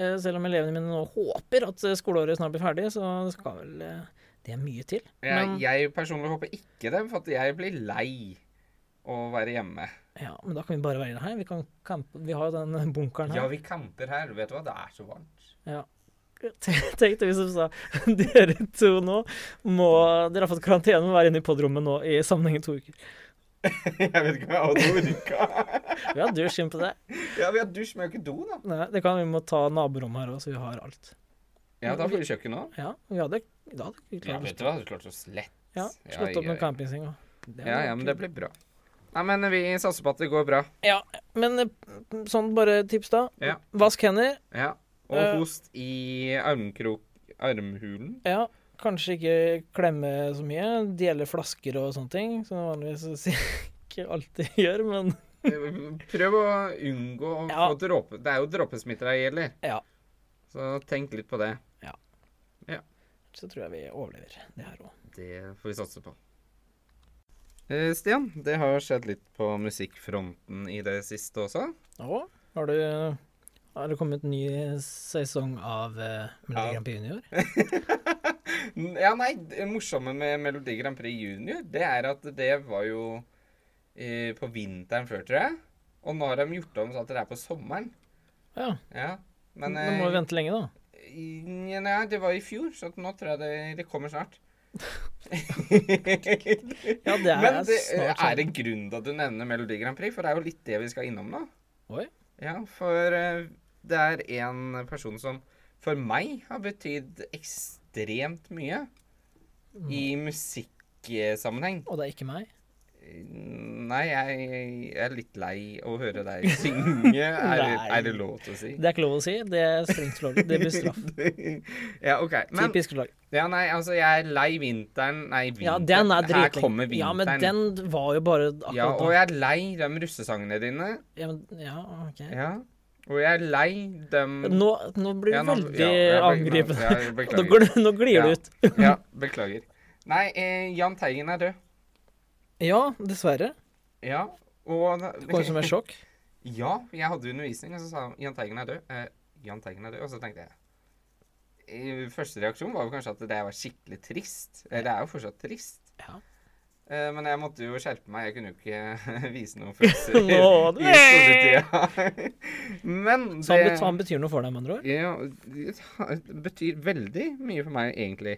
Eh, Selv om elevene mine nå håper at eh, skoleåret snart blir ferdig, så det skal vel eh, Det er mye til.
jeg,
Men-
jeg personlig håper ikke det, for at jeg blir lei å være hjemme.
Ja, men da kan vi bare være inne her. Vi, kan campe, vi har jo den eh, bunkeren
Ja,
her.
vi camper her. Vet du hva, det er så varmt.
Ja. Tenk deg hvis de sa dere to nå må Dere har fått karantene og være inne i podrommet nå i sammenheng i to uker.
jeg vet ikke om jeg hadde orka.
Vi har dusj inn på det.
ja, vi har dusj, men vi har ikke do, da.
Nei, det kan vi må ta naborommet her òg, så vi har alt.
Ja, da får du kjøkken òg.
Ja, vi hadde, da hadde vi
Ja,
klart
vet du hva, du klarte så slett.
Ja, slått opp
ja,
med campingsenga.
ja,
Det hadde
ja,
vært
men det
kult.
blir bra. Nei, men vi satser på at det går bra.
Ja, men eh, sånn bare tips, da.
Ja.
Vask hender.
Ja.
Eh.
Og host i armkrok... Armhulen.
Ja, kanskje ikke klemme så mye. Dele flasker og sånne ting, som jeg vanligvis så sier jeg ikke alltid gjør, men
Prøv å unngå å
Ja.
få dråpe... Det er jo dråpesmitte det gjelder.
Ja.
Så tenk litt på det.
så tror jeg vi overlever det her òg.
Det får vi satse på. Eh, Stian, det har skjedd litt på musikkfronten i det siste også.
Og har du har det kommet ny sesong av eh, Melodi
Ja.
Grand Prix Junior?
N- Ja, nei, det morsomme med Melodi Grand Prix Junior, det er at det var jo eh, på vinteren før, tror jeg. Og nå har de gjort om sånn at det er på sommeren.
Ja.
Ja, men eh,
Nå må vi vente lenge, da.
I- Nei, det var i fjor, så nå tror jeg det, det kommer snart.
Ja, det er
Men det, er
snart
det
sånn.
en grunn til at du nevner Melodi Grand Prix? For det er jo litt det vi skal innom nå.
Oi.
Ja, for eh, det er en person som for meg har betydd ekstremt mye i
Mm.
musikksammenheng.
Og det er ikke meg.
Nei, jeg, jeg er litt lei å høre deg synge, er, det-
Nei.
er det lov til å si?
Det er ikke lov å si. Det er strengt lovlig. Det blir straff.
ja, OK. Men
Typisk lag.
Ja, nei, altså, jeg er lei vinteren Nei, vinteren.
Ja, den er
Her
dritlenge.
kommer vinteren.
Ja, men den var jo bare akkurat
Ja, og
da.
jeg er lei de russesangene dine.
Ja, men, ja, ok.
Ja. Og jeg er lei dem
Nå, nå blir du
Ja, nå-
veldig
ja, jeg be-
angripende.
Ja, jeg
Nå,
beklager.
gl nå glir
Ja.
det ut.
ja, beklager. Nei, eh, Jahn Teigen er død.
Ja, dessverre.
Ja. Og
Det kom som et sjokk.
Ja, jeg hadde undervisning, og så sa han Jahn Teigen er død. Eh, Jahn Teigen er død. Og så tenkte jeg eh, Første reaksjon var jo kanskje at det var skikkelig trist. Eh, Det er jo fortsatt trist.
Ja.
Eh, Men jeg måtte jo skjerpe meg. Jeg kunne jo ikke vise noen følelser i
Nå, det-
skoletida. Men
Så han,
det
bet han betyr noe for deg, med andre ord?
ja, det betyr veldig mye for meg, egentlig.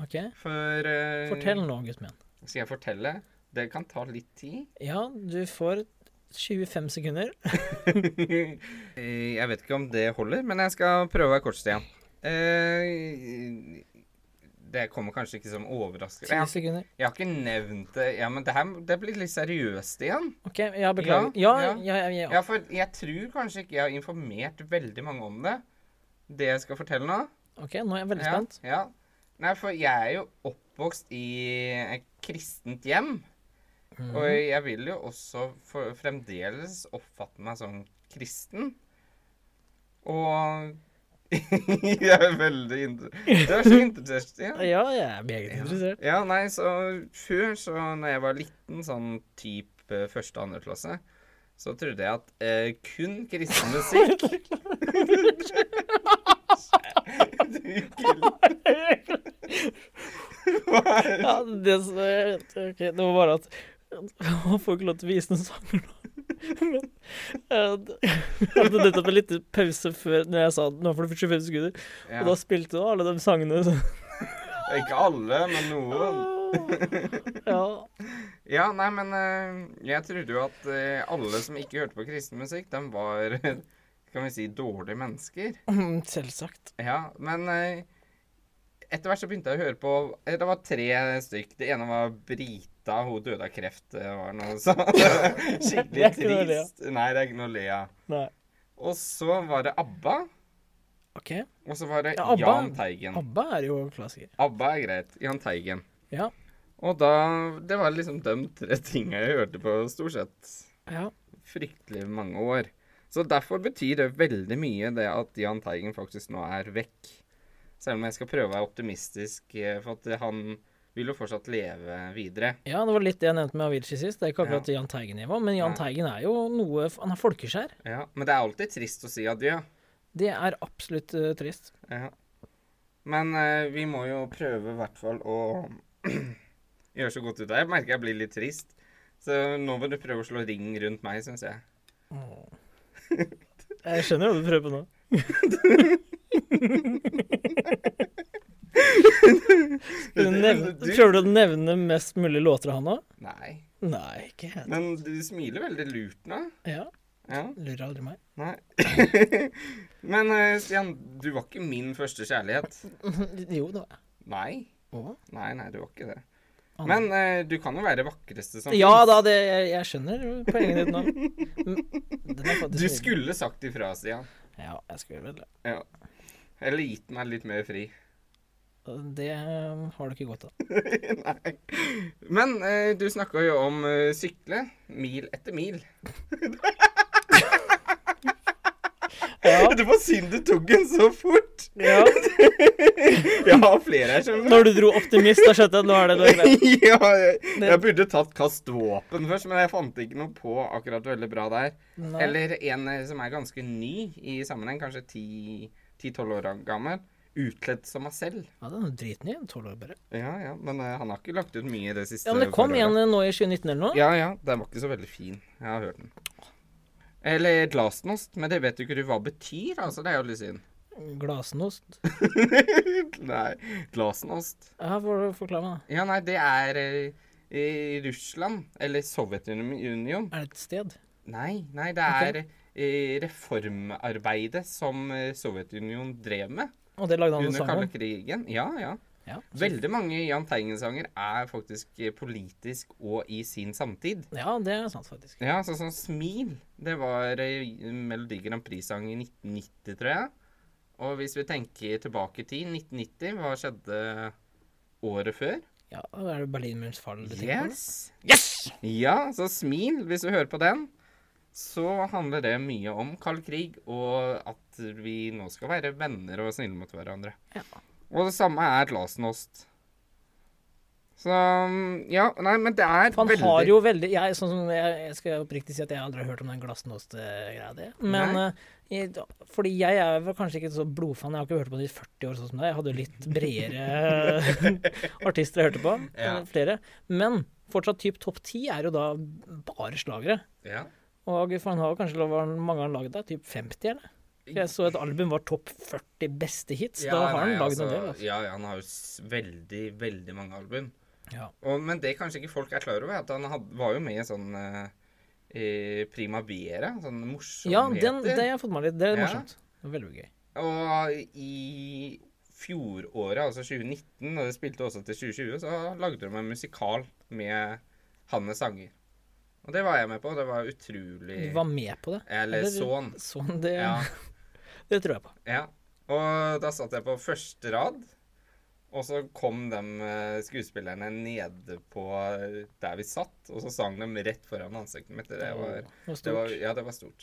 Ok.
For eh,
Fortell nå, gutten min.
Skal jeg fortelle? Det kan ta litt tid.
Ja, du får 25 sekunder.
Eh, jeg vet ikke om det holder, men jeg skal prøve å være kort, Stian. Eh, det kommer kanskje ikke som overraskelse.
10
Jeg,
sekunder.
jeg har ikke nevnt det. Ja, men det her det blir litt seriøst igjen.
OK, ja, beklager. Ja, ja, ja. ja,
Ja, for jeg tror kanskje ikke jeg har informert veldig mange om det. Det jeg skal fortelle nå.
OK, nå er jeg veldig
Ja,
spent.
Ja. Nei, for jeg er jo oppvokst i et kristent hjem.
Mm.
Og jeg vil jo også for, fremdeles oppfatte meg som kristen. Og Jeg er veldig interessert. Du er så interessert, ja.
Ja, jeg er meget interessert.
Ja, nei, så før, så når jeg var liten, sånn type første og andre klasse, så trodde jeg at eh, kun kristen musikk Hva er det?
Ja, det, som er- ok, det var bare at Han får ikke lov til å vise noen sanger nå. Eh, d- Jeg hadde nettopp en liten pause før når jeg sa nå får du 25 sekunder,
Ja.
og da spilte du alle de sangene. Så.
Ikke alle, men noen.
Ja.
Ja, nei, men eh, jeg trodde jo at eh, alle som ikke hørte på kristen musikk, de var Kan vi si dårlige mennesker?
Mm, Selvsagt.
Ja, men eh, etter hvert så begynte jeg å høre på eh, Det var tre stykk. Det ene var Brita, hun døde av kreft. Det var noe sånn
Det er
skikkelig
ikke noe å le av.
trist. Nei, det er ikke noe å le av.
Nei.
Og så var det ABBA.
OK.
Og så var det
Ja, ABBA.
Jahn Teigen.
ABBA er jo klassiker.
ABBA er greit. Jahn Teigen.
Ja.
Og da Det var liksom de tre tinga jeg hørte på stort sett
ja.
fryktelig mange år. Så derfor betyr det veldig mye det at Jahn Teigen faktisk nå er vekk. Selv om jeg skal prøve å være optimistisk, eh, for at han vil jo fortsatt leve videre.
Ja, det var litt det jeg nevnte med Avicii sist. Det er ikke akkurat Jahn Teigen-nivå, men Jahn
Nei.
Teigen er jo noe Han er folkeskjær.
Ja, men det er alltid trist å si adjø.
Det er absolutt eh, trist.
Ja. Men eh, vi må jo prøve i hvert fall å gjøre så godt ut av det. Jeg merker jeg blir litt trist. Så nå må du prøve å slå ring rundt meg, syns jeg.
Jeg skjønner hva du prøver på nå. Skal du nevne,
Du-
prøver du å nevne mest mulig låter av han nå?
Nei.
Nei, ikke helt.
Men du smiler veldig lurt nå.
Ja,
Ja.
lurer aldri meg.
Nei. Men eh, Stian, du var ikke min første kjærlighet.
Jo da.
Nei.
Å.
Nei, nei, du var ikke det.
Ah, nei.
Men eh, du kan jo være det vakreste som
Ja
finnes.
da, det, jeg, jeg skjønner poenget ditt nå. Men Den er faktisk
Du
nydelig.
skulle sagt ifra, Stian.
Ja, jeg skulle vel det.
Ja. Eller gitt meg litt mer fri.
Det eh, har du ikke godt av.
nei. Men eh, du snakka jo om eh, sykle. Mil etter mil.
Ja,
Det var synd du tok den så fort.
ja.
Jeg har flere her, skjønner du.
Når du dro optimist, da skjønte jeg at nå er det noe greit.
ja, jeg, jeg burde tatt kast våpen først, men jeg fant ikke noe på akkurat veldig bra der.
Nei.
Eller en eh, som er ganske ny i sammenheng, kanskje 10 10-12 år gammel. Utkledd som meg selv.
Ja, den er dritny. Tolv år bare.
Ja, ja, men eh, han har ikke lagt ut mye i det siste.
Ja, men det kom
forholdet.
igjen eh, nå i 2019 eller noe.
Ja, ja. Den var ikke så veldig fin. Jeg har hørt den. Eller glasnost, men det vet jo ikke du hva betyr, altså. Det er jo litt synd.
Glasnost.
nei, glasnost.
Ja, for, forklar meg,
Ja, nei, det er eh, i Russland, eller Sovjetunionen
da. Er det et sted?
Nei, nei, det er eh, reformarbeidet som eh, Sovjetunionen drev med.
Og det lagde han en
Under
sang
kalde
om?
krigen? Ja, ja.
Ja.
Veldig mange Jahn Teigen-sanger er faktisk eh, politisk og i sin samtid.
ja, det er sant, faktisk.
Ja, sånn som Smil. Det var eh, Melodi Grand Prix-sang i 1990, tror jeg. Og hvis vi tenker tilbake i tid, 1990, hva skjedde året før?
Ja, Er det Berlinmurens fall du tenker på?
Yes! Ja, så Smil, hvis du hører på den, så handler det mye om kald krig, og at vi nå skal være venner og snille mot hverandre.
Ja.
Og det samme er Glasnost. Så mm, Ja, nei, men det er
For han
veldig
har jo veldig jeg, sånn som jeg, jeg skal oppriktig si at jeg aldri har hørt om den glasnost-greia di. Men
Nei.
eh, jeg, fordi jeg er vel kanskje ikke så blodfan. Jeg har ikke hørt på det i 40 år, sånn som deg. Jeg hadde jo litt bredere artister jeg hørte på.
Ja.
eh, Flere. Men fortsatt typ topp ti er jo da bare slagere.
ja.
Og for han har jo kanskje hva mange han lagd, da? Typ 50, eller? For Jeg så et album var topp 40 beste hits. da har han
nei,
lagd en
altså,
del. Altså.
Ja, ja, han har jo s- veldig, veldig mange album.
Ja.
Og, men det kanskje ikke folk er klar over, er at han had, var jo med i en sånn eh, eh, Primavera, sånn
Ja, den,
morsomheter.
det har jeg fått med meg litt. Det er
Ja.
morsomt. Det er veldig gøy.
Og i fjoråret, altså 2019, og det spilte også til 2020, så lagde de en musikal med hans sanger. Og det var jeg med på, og det var utrolig
Du var med på det?
Eller sånn.
Sånn, det,
Ja,
det tror jeg på.
ja. Og da satt jeg på første rad, og så kom de eh, skuespillerne nede på eh, der vi satt, og så sang de rett foran ansiktet mitt. Det var,
det var
det
stort.
var, ja, det var stort.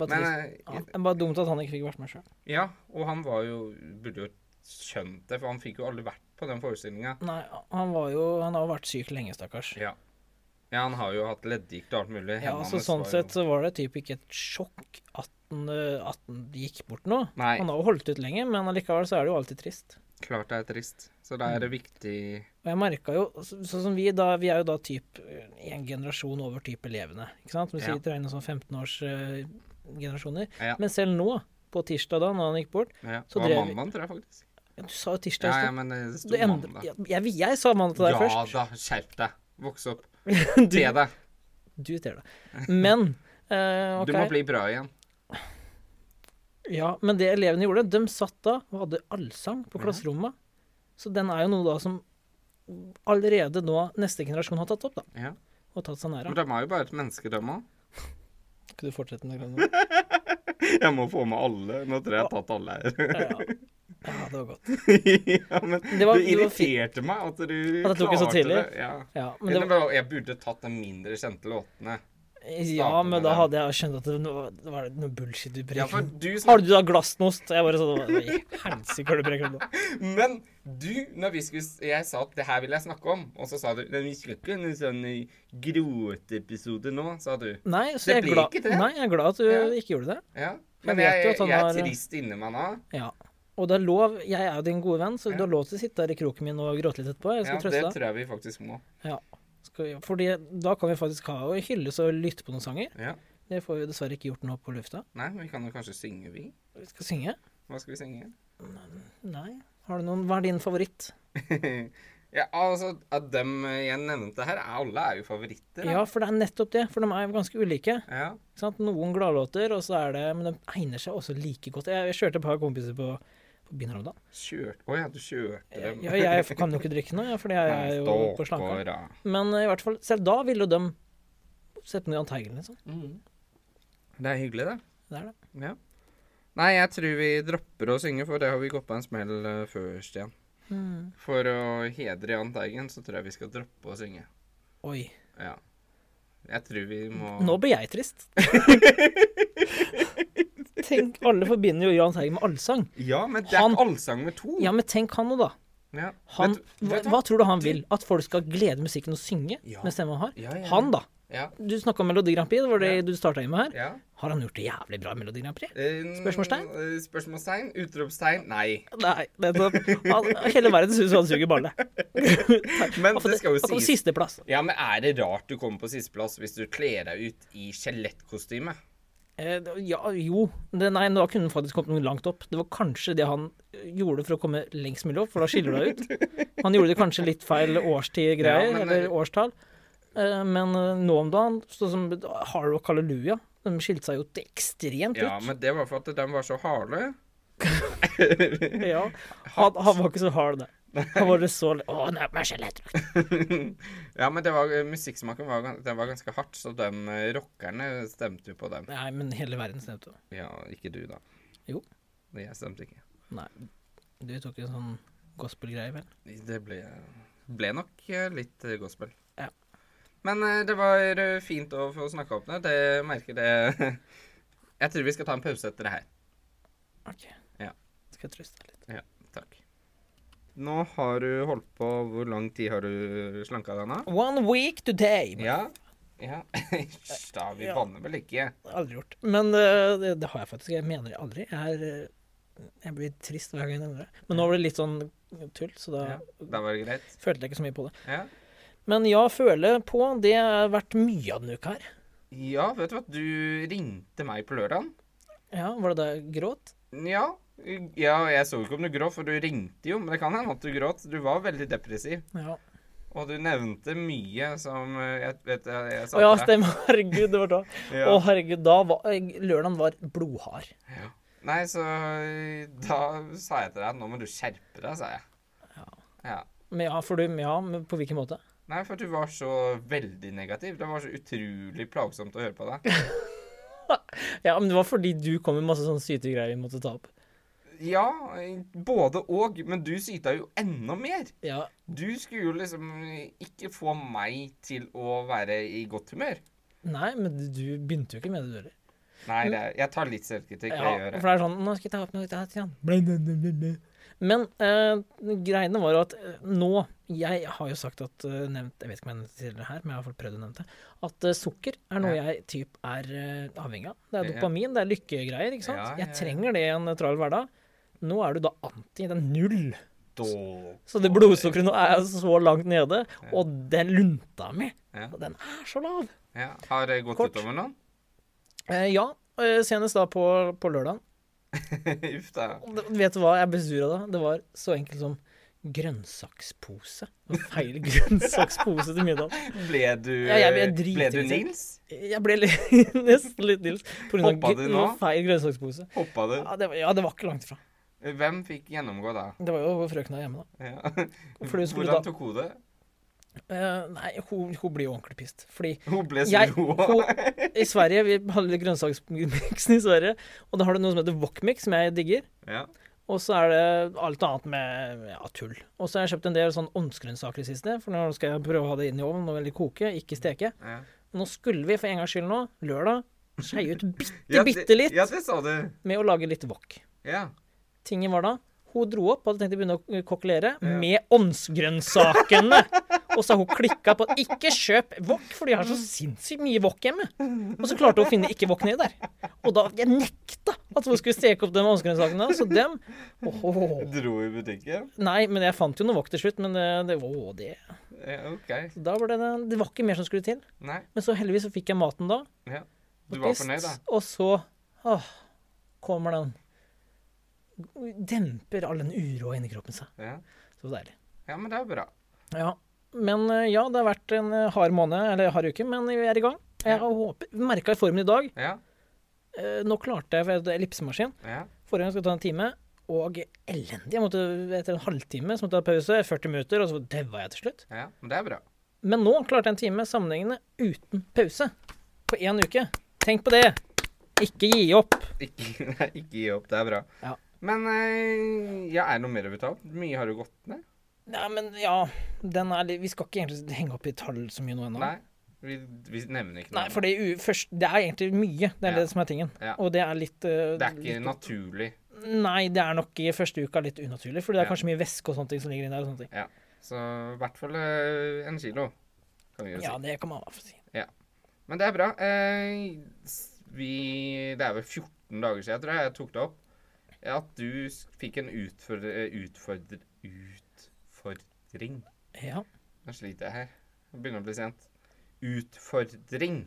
bare
Men
trist.
eh,
Ja, det er bare dumt at han ikke fikk vært med sjøl.
Ja, og han var jo Burde jo skjønt det, for han fikk jo aldri vært på den forestillinga.
Nei, han var jo Han har jo vært syk lenge, stakkars.
Ja. ja, han har jo hatt leddgikt og alt mulig.
Ja,
Hendene
så
hans
sånn
var
sett
jo...
så var det typ ikke et sjokk at han, eh, at han gikk bort nå.
Nei.
Han har jo holdt ut lenge, men allikevel så er det jo alltid trist.
Klart det er trist. Så da er det viktig
Og Og jeg merka jo så, Sånn som vi, da, vi er jo da typ eh, en generasjon over type elevene. Ikke sant? Hvis
Ja.
vi regner sånn 15-årsgenerasjoner.
Ja.
Men selv nå, på tirsdag da når han gikk bort
Ja,
Så
det var
drev vi-
mandagen, tror jeg faktisk.
ja, Du sa jo tirsdag.
Ja, ja,
i stad.
men eh, det sto
Det endrer-
mandag.
ja, jeg, jeg sa mandag til deg
ja
først.
da, skjerp deg. Voks opp.
Du,
Se deg.
du ser det. Men eh,
Du må
ok.
bli bra igjen.
Ja, men det elevene gjorde, de satt da og hadde allsang på
Ja.
klasserommet. Så den er jo noe da som allerede nå neste generasjon har tatt opp, da.
Ja.
Og tatt seg nær
Men
av.
de er jo bare et menneske, de òg.
Skal du fortsette med det? Glenn, nå?
Jeg må få med alle. Nå tror jeg jeg har tatt alle her.
Ja. ja, det var godt.
ja, men det,
Det var- det var fint.
irriterte meg at du
At jeg tok det så tidlig.
Ja.
Ja, men, det
Eller
var,
bare, jeg burde tatt de mindre kjente låtene.
ja, men da hadde jeg skjønt at det var, det var noe bullshit du
Ja, for
brekker.
du
Har du da glassnost? Jeg bare sånn Hva i helsike har du brekt nå?
Men du, når vi skulle, s- jeg sa at det her vil jeg snakke om, og så sa du Men vi skal ikke ha noen sånn eh, groteepisode nå, sa du.
Nei, så
Det
jeg er
ble
glad,
ikke det.
nei, jeg er glad at du
Ja.
ikke gjorde det.
Ja. Men
vet
jeg,
jo
jeg,
at han
er
har- eh,
trist inni meg nå.
Ja. Og det er lov. Jeg er jo din gode venn, så
Ja.
du har lov til å sitte der i kroken min og gråte litt etterpå. Jeg
Ja,
skal
det
trøste deg.
tror jeg vi faktisk må.
Ja. Skal vi, fordi da kan vi faktisk ha og hylles og lytte på noen sanger.
Ja.
Det får vi dessverre ikke gjort nå på lufta.
Nei, vi kan jo kanskje synge, vi.
Vi skal synge.
Hva skal vi synge?
Nei. Har du noen, hva er din favoritt?
ja, altså, av dem jeg nevnte her, er- alle er jo favoritter. da.
Ja, for det er nettopp det. For de er jo ganske ulike.
Ja.
Ikke sant? Noen gladlåter, og så er det Men de egner seg også like godt. Jeg, jeg kjørte et par kompiser på, på byen her om dagen.
Kjørt Å ja, du kjørte
Jeg,
dem.
jeg, jeg kan jo ikke drikke noe, ja, fordi jeg er jo på slanka.
Stakkara.
Men eh, i hvert fall, selv da ville jo de sette noe i anteigen, liksom.
Mhm. Det er hyggelig, det.
Det er det.
Ja. Nei, jeg tror vi dropper å synge, for det har vi gått på en smell eh, før, Stian.
Mm.
For å hedre Jahn Teigen, så tror jeg vi skal droppe å synge.
Oi.
Ja. Jeg tror vi må
Nå blir jeg trist. tenk, alle forbinder jo Jahn Teigen med allsang.
Ja, men det er
Han-
allsang med to.
Ja, men tenk han nå, da.
Ja.
Han,
Vet du-
hva,
vet du
hva tror du han vil? At folk skal glede musikken og synge
Ja.
med stemmen han har?
Ja, ja, ja.
Han, da.
Ja.
Du snakka om Melodi Grand Prix, det var det
Ja.
du starta med her.
ja.
Har han gjort det jævlig bra i Melodi Grand Prix?
Eh,
Spørsmålstegn?
eh, Spørsmålstegn? Utropstegn? Nei.
Nei, det er sånn- han, hele verden syns han suger balle.
Men
Han får-
det skal jo
han får
sies.
Sisteplass.
Ja, men er det rart du kommer på sisteplass hvis du kler deg ut i skjelettkostyme?
Eh, ja, jo. Det, nei, da kunne han faktisk kommet noe langt opp. Det var kanskje det han eh, gjorde for å komme lengst mulig opp, for da skiller du deg ut. Han gjorde det kanskje litt feil årstid-greier,
Ja, men-
eller årstall. Eh, men eh, nå om dagen, sånn som Hard Rock Halleluja, de skilte seg jo til ekstremt
Ja,
ut.
men det var for at de var så harde.
Ja, han, han var ikke så hard, det. Han var det så l- Å, nei, men skjelettdrakt.
ja, men det var, musikksmaken var, gans- den var ganske hardt, så de eh, rockerne stemte jo på dem.
Nei, men hele verden stemte.
Ja, ikke du, da.
Jo.
Jeg stemte ikke.
Nei. Du tok en sånn gospel-greie, vel?
Det ble, ble nok eh, litt eh, gospel.
Ja.
Men eh, det var eh, fint å få snakka opp det. Det merker det Jeg tror vi skal ta en pause etter det her.
OK.
Ja.
Skal jeg trøste deg litt.
Ja, takk. Nå har du holdt på Hvor lang tid har du slanka deg nå?
One week today.
Ja. ja. Hysj, da. Vi
Ja.
banner vel ikke?
Aldri gjort. Men eh, det, det har jeg faktisk. Jeg mener det aldri. Jeg, er, eh, jeg blir trist hver gang jeg nevner det. Men nå var det litt sånn tull, så da
Ja. Da var det greit?
følte jeg ikke så mye på det.
Ja.
Men ja, føle på, det har vært mye av denne uka her.
ja, vet du hva. Du ringte meg på lørdagen.
Ja, var det da jeg gråt?
Ja. ja. Jeg så ikke om du gråt, for du ringte jo. Men det kan hende at du gråt. Du var veldig depressiv.
Ja.
Og du nevnte mye som eh, jeg, vet, jeg, jeg sa
Å ja,
til deg.
stemmer. Herregud, det var da. Å
Ja.
herregud, da var jeg- Lørdagen var blodhard.
Nei, så eh, da sa jeg til deg at nå må du skjerpe deg, sa jeg.
Ja.
ja.
Men ja, for du Ja, men på hvilken måte?
Nei, for du var så veldig negativ. Det var så utrolig plagsomt å høre på deg.
Ja, men det var fordi du kom med masse sånne sytegreier vi måtte ta opp.
Ja, eh, både og, men du syta jo enda mer.
Ja.
Du skulle jo liksom ikke få meg til å være i godt humør.
Nei, men du begynte jo ikke med det, du heller.
Nei, det er, jeg tar litt selvkritikk.
Ja,
jeg gjør
for
det.
det er sånn Nå skal jeg ta opp noe der, Stian. Blæ, blæ, blæ, blæ, blæ. Men eh, greiene var jo at eh, nå Jeg har jo sagt at eh, nevnt, Jeg vet ikke om jeg nevnte det tidligere her, men jeg har fått prøvd å nevne det. At eh, sukker er noe
Ja.
jeg typ er eh, avhengig av. Det er
Ja.
dopamin, det er lykkegreier, ikke sant.
Ja, ja, ja.
Jeg trenger det i en travel hverdag. Nå er du da anti. Det er null.
stå
Så det blodsukkeret nå er så langt nede. Og den lunta mi,
Ja.
den er så lav.
Ja. Har det gått
Kort.
utover noen?
Eh, ja, eh, senest da på, på lørdag.
Uff da.
Vet du hva jeg besura da? Det var så enkelt som grønnsakspose. Det var Feil grønnsakspose til middag.
Ble du,
Ja, jeg- jeg
ble
driter
du
i det.
Nils?
Jeg ble litt, nesten litt Nils pga.
Hoppa du nå?
feil grønnsakspose.
Hoppa du?
Ja det, var, ja, det var ikke langt ifra.
Hvem fikk gjennomgå da?
Det var jo frøkna hjemme, da.
Ja.
For du skulle da-
Hvordan tok hun det?
Eh, nei, hun, hun blir jo ordentlig pissed. Fordi
Hun ble så
Jeg-
rå.
hun- i Sverige Vi hadde litt grønnsaksmiksen i Sverige, og da har du noe som heter wokmix, som jeg digger.
Ja.
Og så er det alt annet med ja, tull. Og så har jeg kjøpt en del sånn ovnsgrønnsaker i det siste, for nå skal jeg prøve å ha det inn i ovnen og veldig koke, ikke steke.
Ja.
Nå skulle vi for en gangs skyld nå, lørdag, skeie ut
Ja, det-
bitte, bitte litt
Ja, det sa du.
med å lage litt wok.
Ja.
Tingen var da hun dro opp, hadde tenkt å begynne å kokkelere,
Ja.
med ovnsgrønnsakene. Og så har hun klikka på at ikke kjøp wok, for de har så sinnssykt mye wok hjemme. Og så klarte hun å finne ikke wok nedi der. Og da jeg nekta at hun skulle steke opp de ovnsgrønnsakene. Så dem Åhå.
Dro i butikken?
Nei, men jeg fant jo noe vakt til slutt, men det, det, å, det.
Ja, OK.
Da var det, det var ikke mer som skulle til.
Nei.
Men så heldigvis så fikk jeg maten da.
Ja.
og
Du var
spist,
fornøyd, da?
Og så åh, kommer den. Demper all den uroa inni kroppen seg.
Ja.
Så deilig.
ja, men det er bra.
Ja. Men eh, ja, det har vært en eh, hard måned, eller hard uke, men vi er i gang. Jeg
Ja.
håper, merka i formen i dag.
Ja.
Eh, Nå klarte jeg ved ellipsemaskin.
ja.
Forrige gang skulle jeg ta en time, og elendig. Jeg måtte etter en halvtime så måtte jeg ha pause, 40 minutter, og så daua jeg til slutt.
Ja, men det er bra.
Men nå klarte jeg en time sammenhengende uten pause. På én uke. Tenk på det! Ikke gi opp.
Ikke, nei, ikke gi opp. Det er bra.
Ja.
Men eh, ja, er det noe mer å betale? Mye har jo gått ned?
Nei, men ja den er, litt- Vi skal ikke egentlig henge opp i tall så mye nå ennå.
Nei. Vi, vi nevner ikke noe.
Nei, for det, er u- først, det er egentlig mye. Det er
Ja.
det som er tingen.
Ja.
Og det er litt eh,
det er ikke
litt-
naturlig.
Nei, det er nok i første uka litt unaturlig, for det er
Ja.
kanskje mye væske og sånne ting som ligger inni der. og sånne ting.
Så i hvert fall eh, en kilo, kan vi jo si.
Ja, det kan man i hvert fall si.
Men det er bra. Eh, s- vi, det er vel 14 dager siden, jeg tror jeg, jeg tok det opp, at du s- fikk en utfordre, utfordre, utfordring.
Ja.
Nå sliter jeg her. Det begynner å bli sent. Utfordring.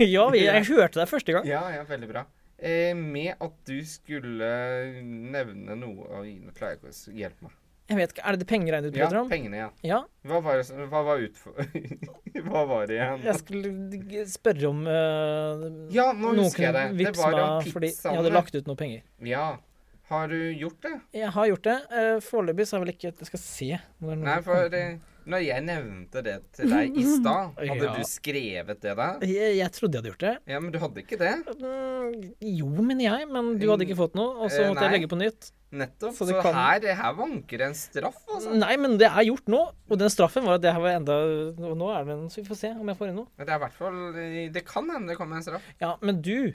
ja, vi- jeg hørte deg første gang.
Ja, ja, veldig bra. Eh, med at du skulle nevne noe Oi, nå klarer jeg ikke å s- hjelpe meg.
Jeg vet ikke, Er det det pengeregnet du
Ja,
prater om?
pengene, ja.
Ja.
Hva var det, som- hva var utfor... hva var det igjen?
Jeg skulle g- spørre om eh,
Ja, nå
Noen
husker jeg
kunne
det. Det
vippse
var om
meg fordi jeg hadde
pizzaene.
lagt ut noe penger.
Ja. Har du gjort det?
Jeg har gjort det. Eh, Foreløpig så har jeg vel ikke Jeg skal se. om det er noe-
Nei, for eh, når jeg nevnte det til deg i stad, hadde
Ja.
du skrevet det der?
jeg, jeg trodde jeg hadde gjort det.
Ja, men du hadde ikke det.
Mm, Jo, mener jeg, men du hadde ikke fått noe, og så
Eh,
måtte jeg
nei.
legge på nytt.
Nettopp.
Så
Så,
det kan-
her, her vanker det en straff, altså.
Nei, men det er gjort nå, og den straffen var at det her var enda Og nå er det en, så vi får se om jeg får inn noe.
Men det er i hvert fall eh, Det kan hende det kommer en straff.
Ja, men du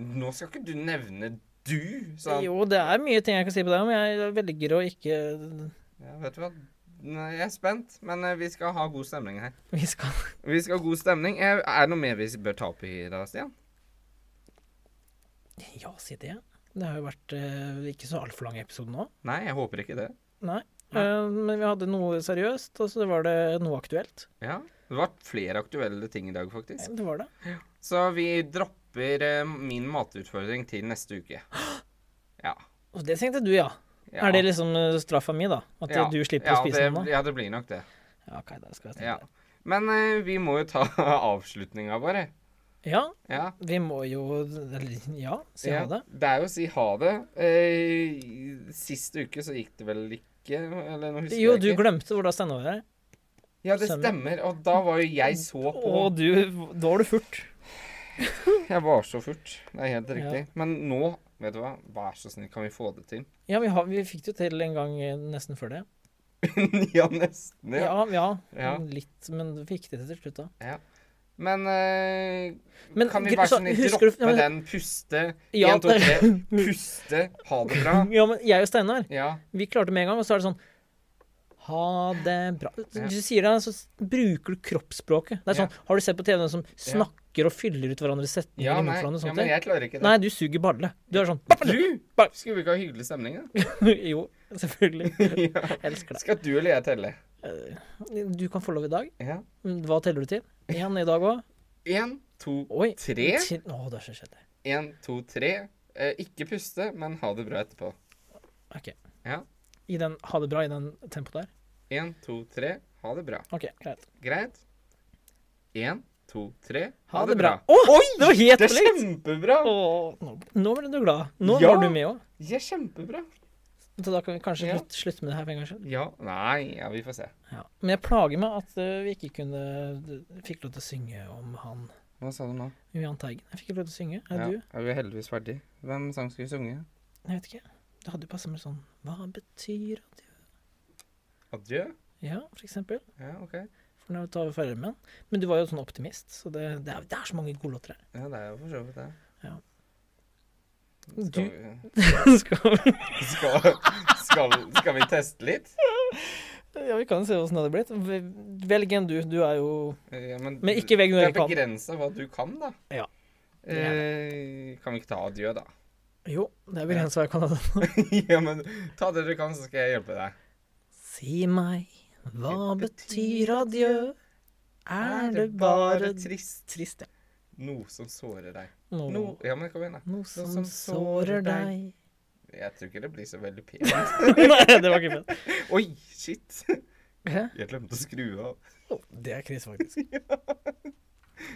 Nå skal ikke du nevne du, sa han.
Jo, det er mye ting jeg kan si på deg om, jeg velger å ikke
Ja, vet du hva? Nei, jeg er spent, men eh, vi skal ha god stemning her.
Vi skal
Vi skal ha god stemning. Eh, Er det noe mer vi bør ta opp i dag, Stian?
Ja, si det. Det har jo vært eh, ikke så altfor lang episode nå.
Nei, jeg håper ikke det.
Nei.
Nei.
Eh, men vi hadde noe seriøst, og så var det noe aktuelt.
Ja. Det var flere aktuelle ting i dag, faktisk.
Det var det.
Så vi dropper eh, min matutfordring til neste uke. Ja.
Og det tenkte du, ja.
Ja.
Er det liksom eh, straffa mi, da? At eh,
Ja,
du slipper
ja,
å spise
det,
den da?
Ja, det blir nok det.
Ja, ok, da skal jeg
Ja.
snakke.
Men eh, vi må jo ta avslutninga vår. eh.
Ja.
Ja.
vi må jo eller, Ja, si
ja.
ha det.
Det er jo å si ha det. Eh, sist uke så gikk det vel ikke Eller nå husker
Jo,
jeg
du
ikke.
glemte hvor da stenda var.
Ja, det
stemmer.
stemmer. Og da var jo jeg så på.
Og du Da var du furt.
Jeg var så furt. Det er helt riktig. Men nå, vet du hva, vær så snill, kan vi få det til?
Ja, vi, har, vi fikk det jo til en gang eh, nesten før det.
ja, nesten. Ja.
Ja, ja.
Ja.
Litt, men vi fikk det til til slutt, da.
Men eh,
Men
kan vi
gr-
være
så
så snill
husker du-
droppe
ja, men-
den puste?
Ja,
Én, to,
det-
tre. Puste. Ha det bra.
Ja, men jeg og Steinar,
Ja.
vi klarte det med en gang, og så er det sånn ha det bra.
Ja.
Du sier det, så s- bruker du kroppsspråket. Det er
Ja.
sånn, Har du sett på TV noen som snakker snakker og fyller ut hverandres setninger.
Ja,
i
nei,
munnen for
ja,
hverandre og sånt
men
ting.
jeg klarer ikke det.
Nei, du suger balle. Du er sånn
Du! Skulle vi ikke ha hyggelig stemning, da?
Jo, selvfølgelig.
Ja.
Elsker deg.
Skal du eller jeg telle?
Du kan få lov i dag.
Ja.
Hva teller du til? Én i dag òg?
Én, to,
Oi.
tre.
Ti- Å, det er så kjedelig.
Én, to, tre. Eh, ikke puste, men ha det bra etterpå.
OK.
Ja.
I den, ha det bra i den tempoet der?
Én, to, tre. Ha det bra.
OK, greit.
Greit? Én, to, tre.
Ha, det bra. Å, det var helt
Det er
likt!
kjempebra!
Å, Nå, nå ble du glad. Nå
Ja.
var du med òg.
Ja, kjempebra.
Så da kan vi kanskje
Ja.
slutt, slutte med det her for en gangs skyld.
Ja. Nei, ja, vi får se.
Ja. Men jeg plager meg at eh, vi ikke kunne Fikk lov til å synge om han
Hva sa du nå?
Johan Teigen. Jeg fikk ikke lov til å synge. Er
Ja,
du?
er vi heldigvis ferdig? Hvem sang skulle synge?
Jeg vet ikke. Det hadde jo passa med sånn Hva betyr adjø?
Adjø?
Ja, for eksempel.
Ja, OK.
For nå tar vi ferdig med den. Men du var jo sånn optimist, så det, det, er, det er så mange gode låter her.
Ja, det er jo for så vidt det.
Ja.
Skal,
Du-
vi,
Skal vi
skal, skal, skal vi teste litt?
Ja, vi kan jo se åssen det hadde blitt. Ve- Velg en du. Du er jo
Eh, Ja,
Men ikke velg noe
det
jeg kan.
er begrensa hva du kan, da.
Ja. Det er
Eh, kan vi ikke ta adjø, da?
Jo, det er begrensa hva jeg kan av den.
ja, men ta det du kan, så skal jeg hjelpe deg.
Si meg, hva betyr adjø? Er det bare trist? Trist, ja.
Noe som sårer deg.
Nå-
No, ja, men kom igjen, da.
Noe som sårer deg.
Jeg tror ikke det blir så veldig pent.
Nei, det var ikke pent.
Oi, shit!
Hæ?
Jeg glemte å skru av.
Å, Det er krise, faktisk.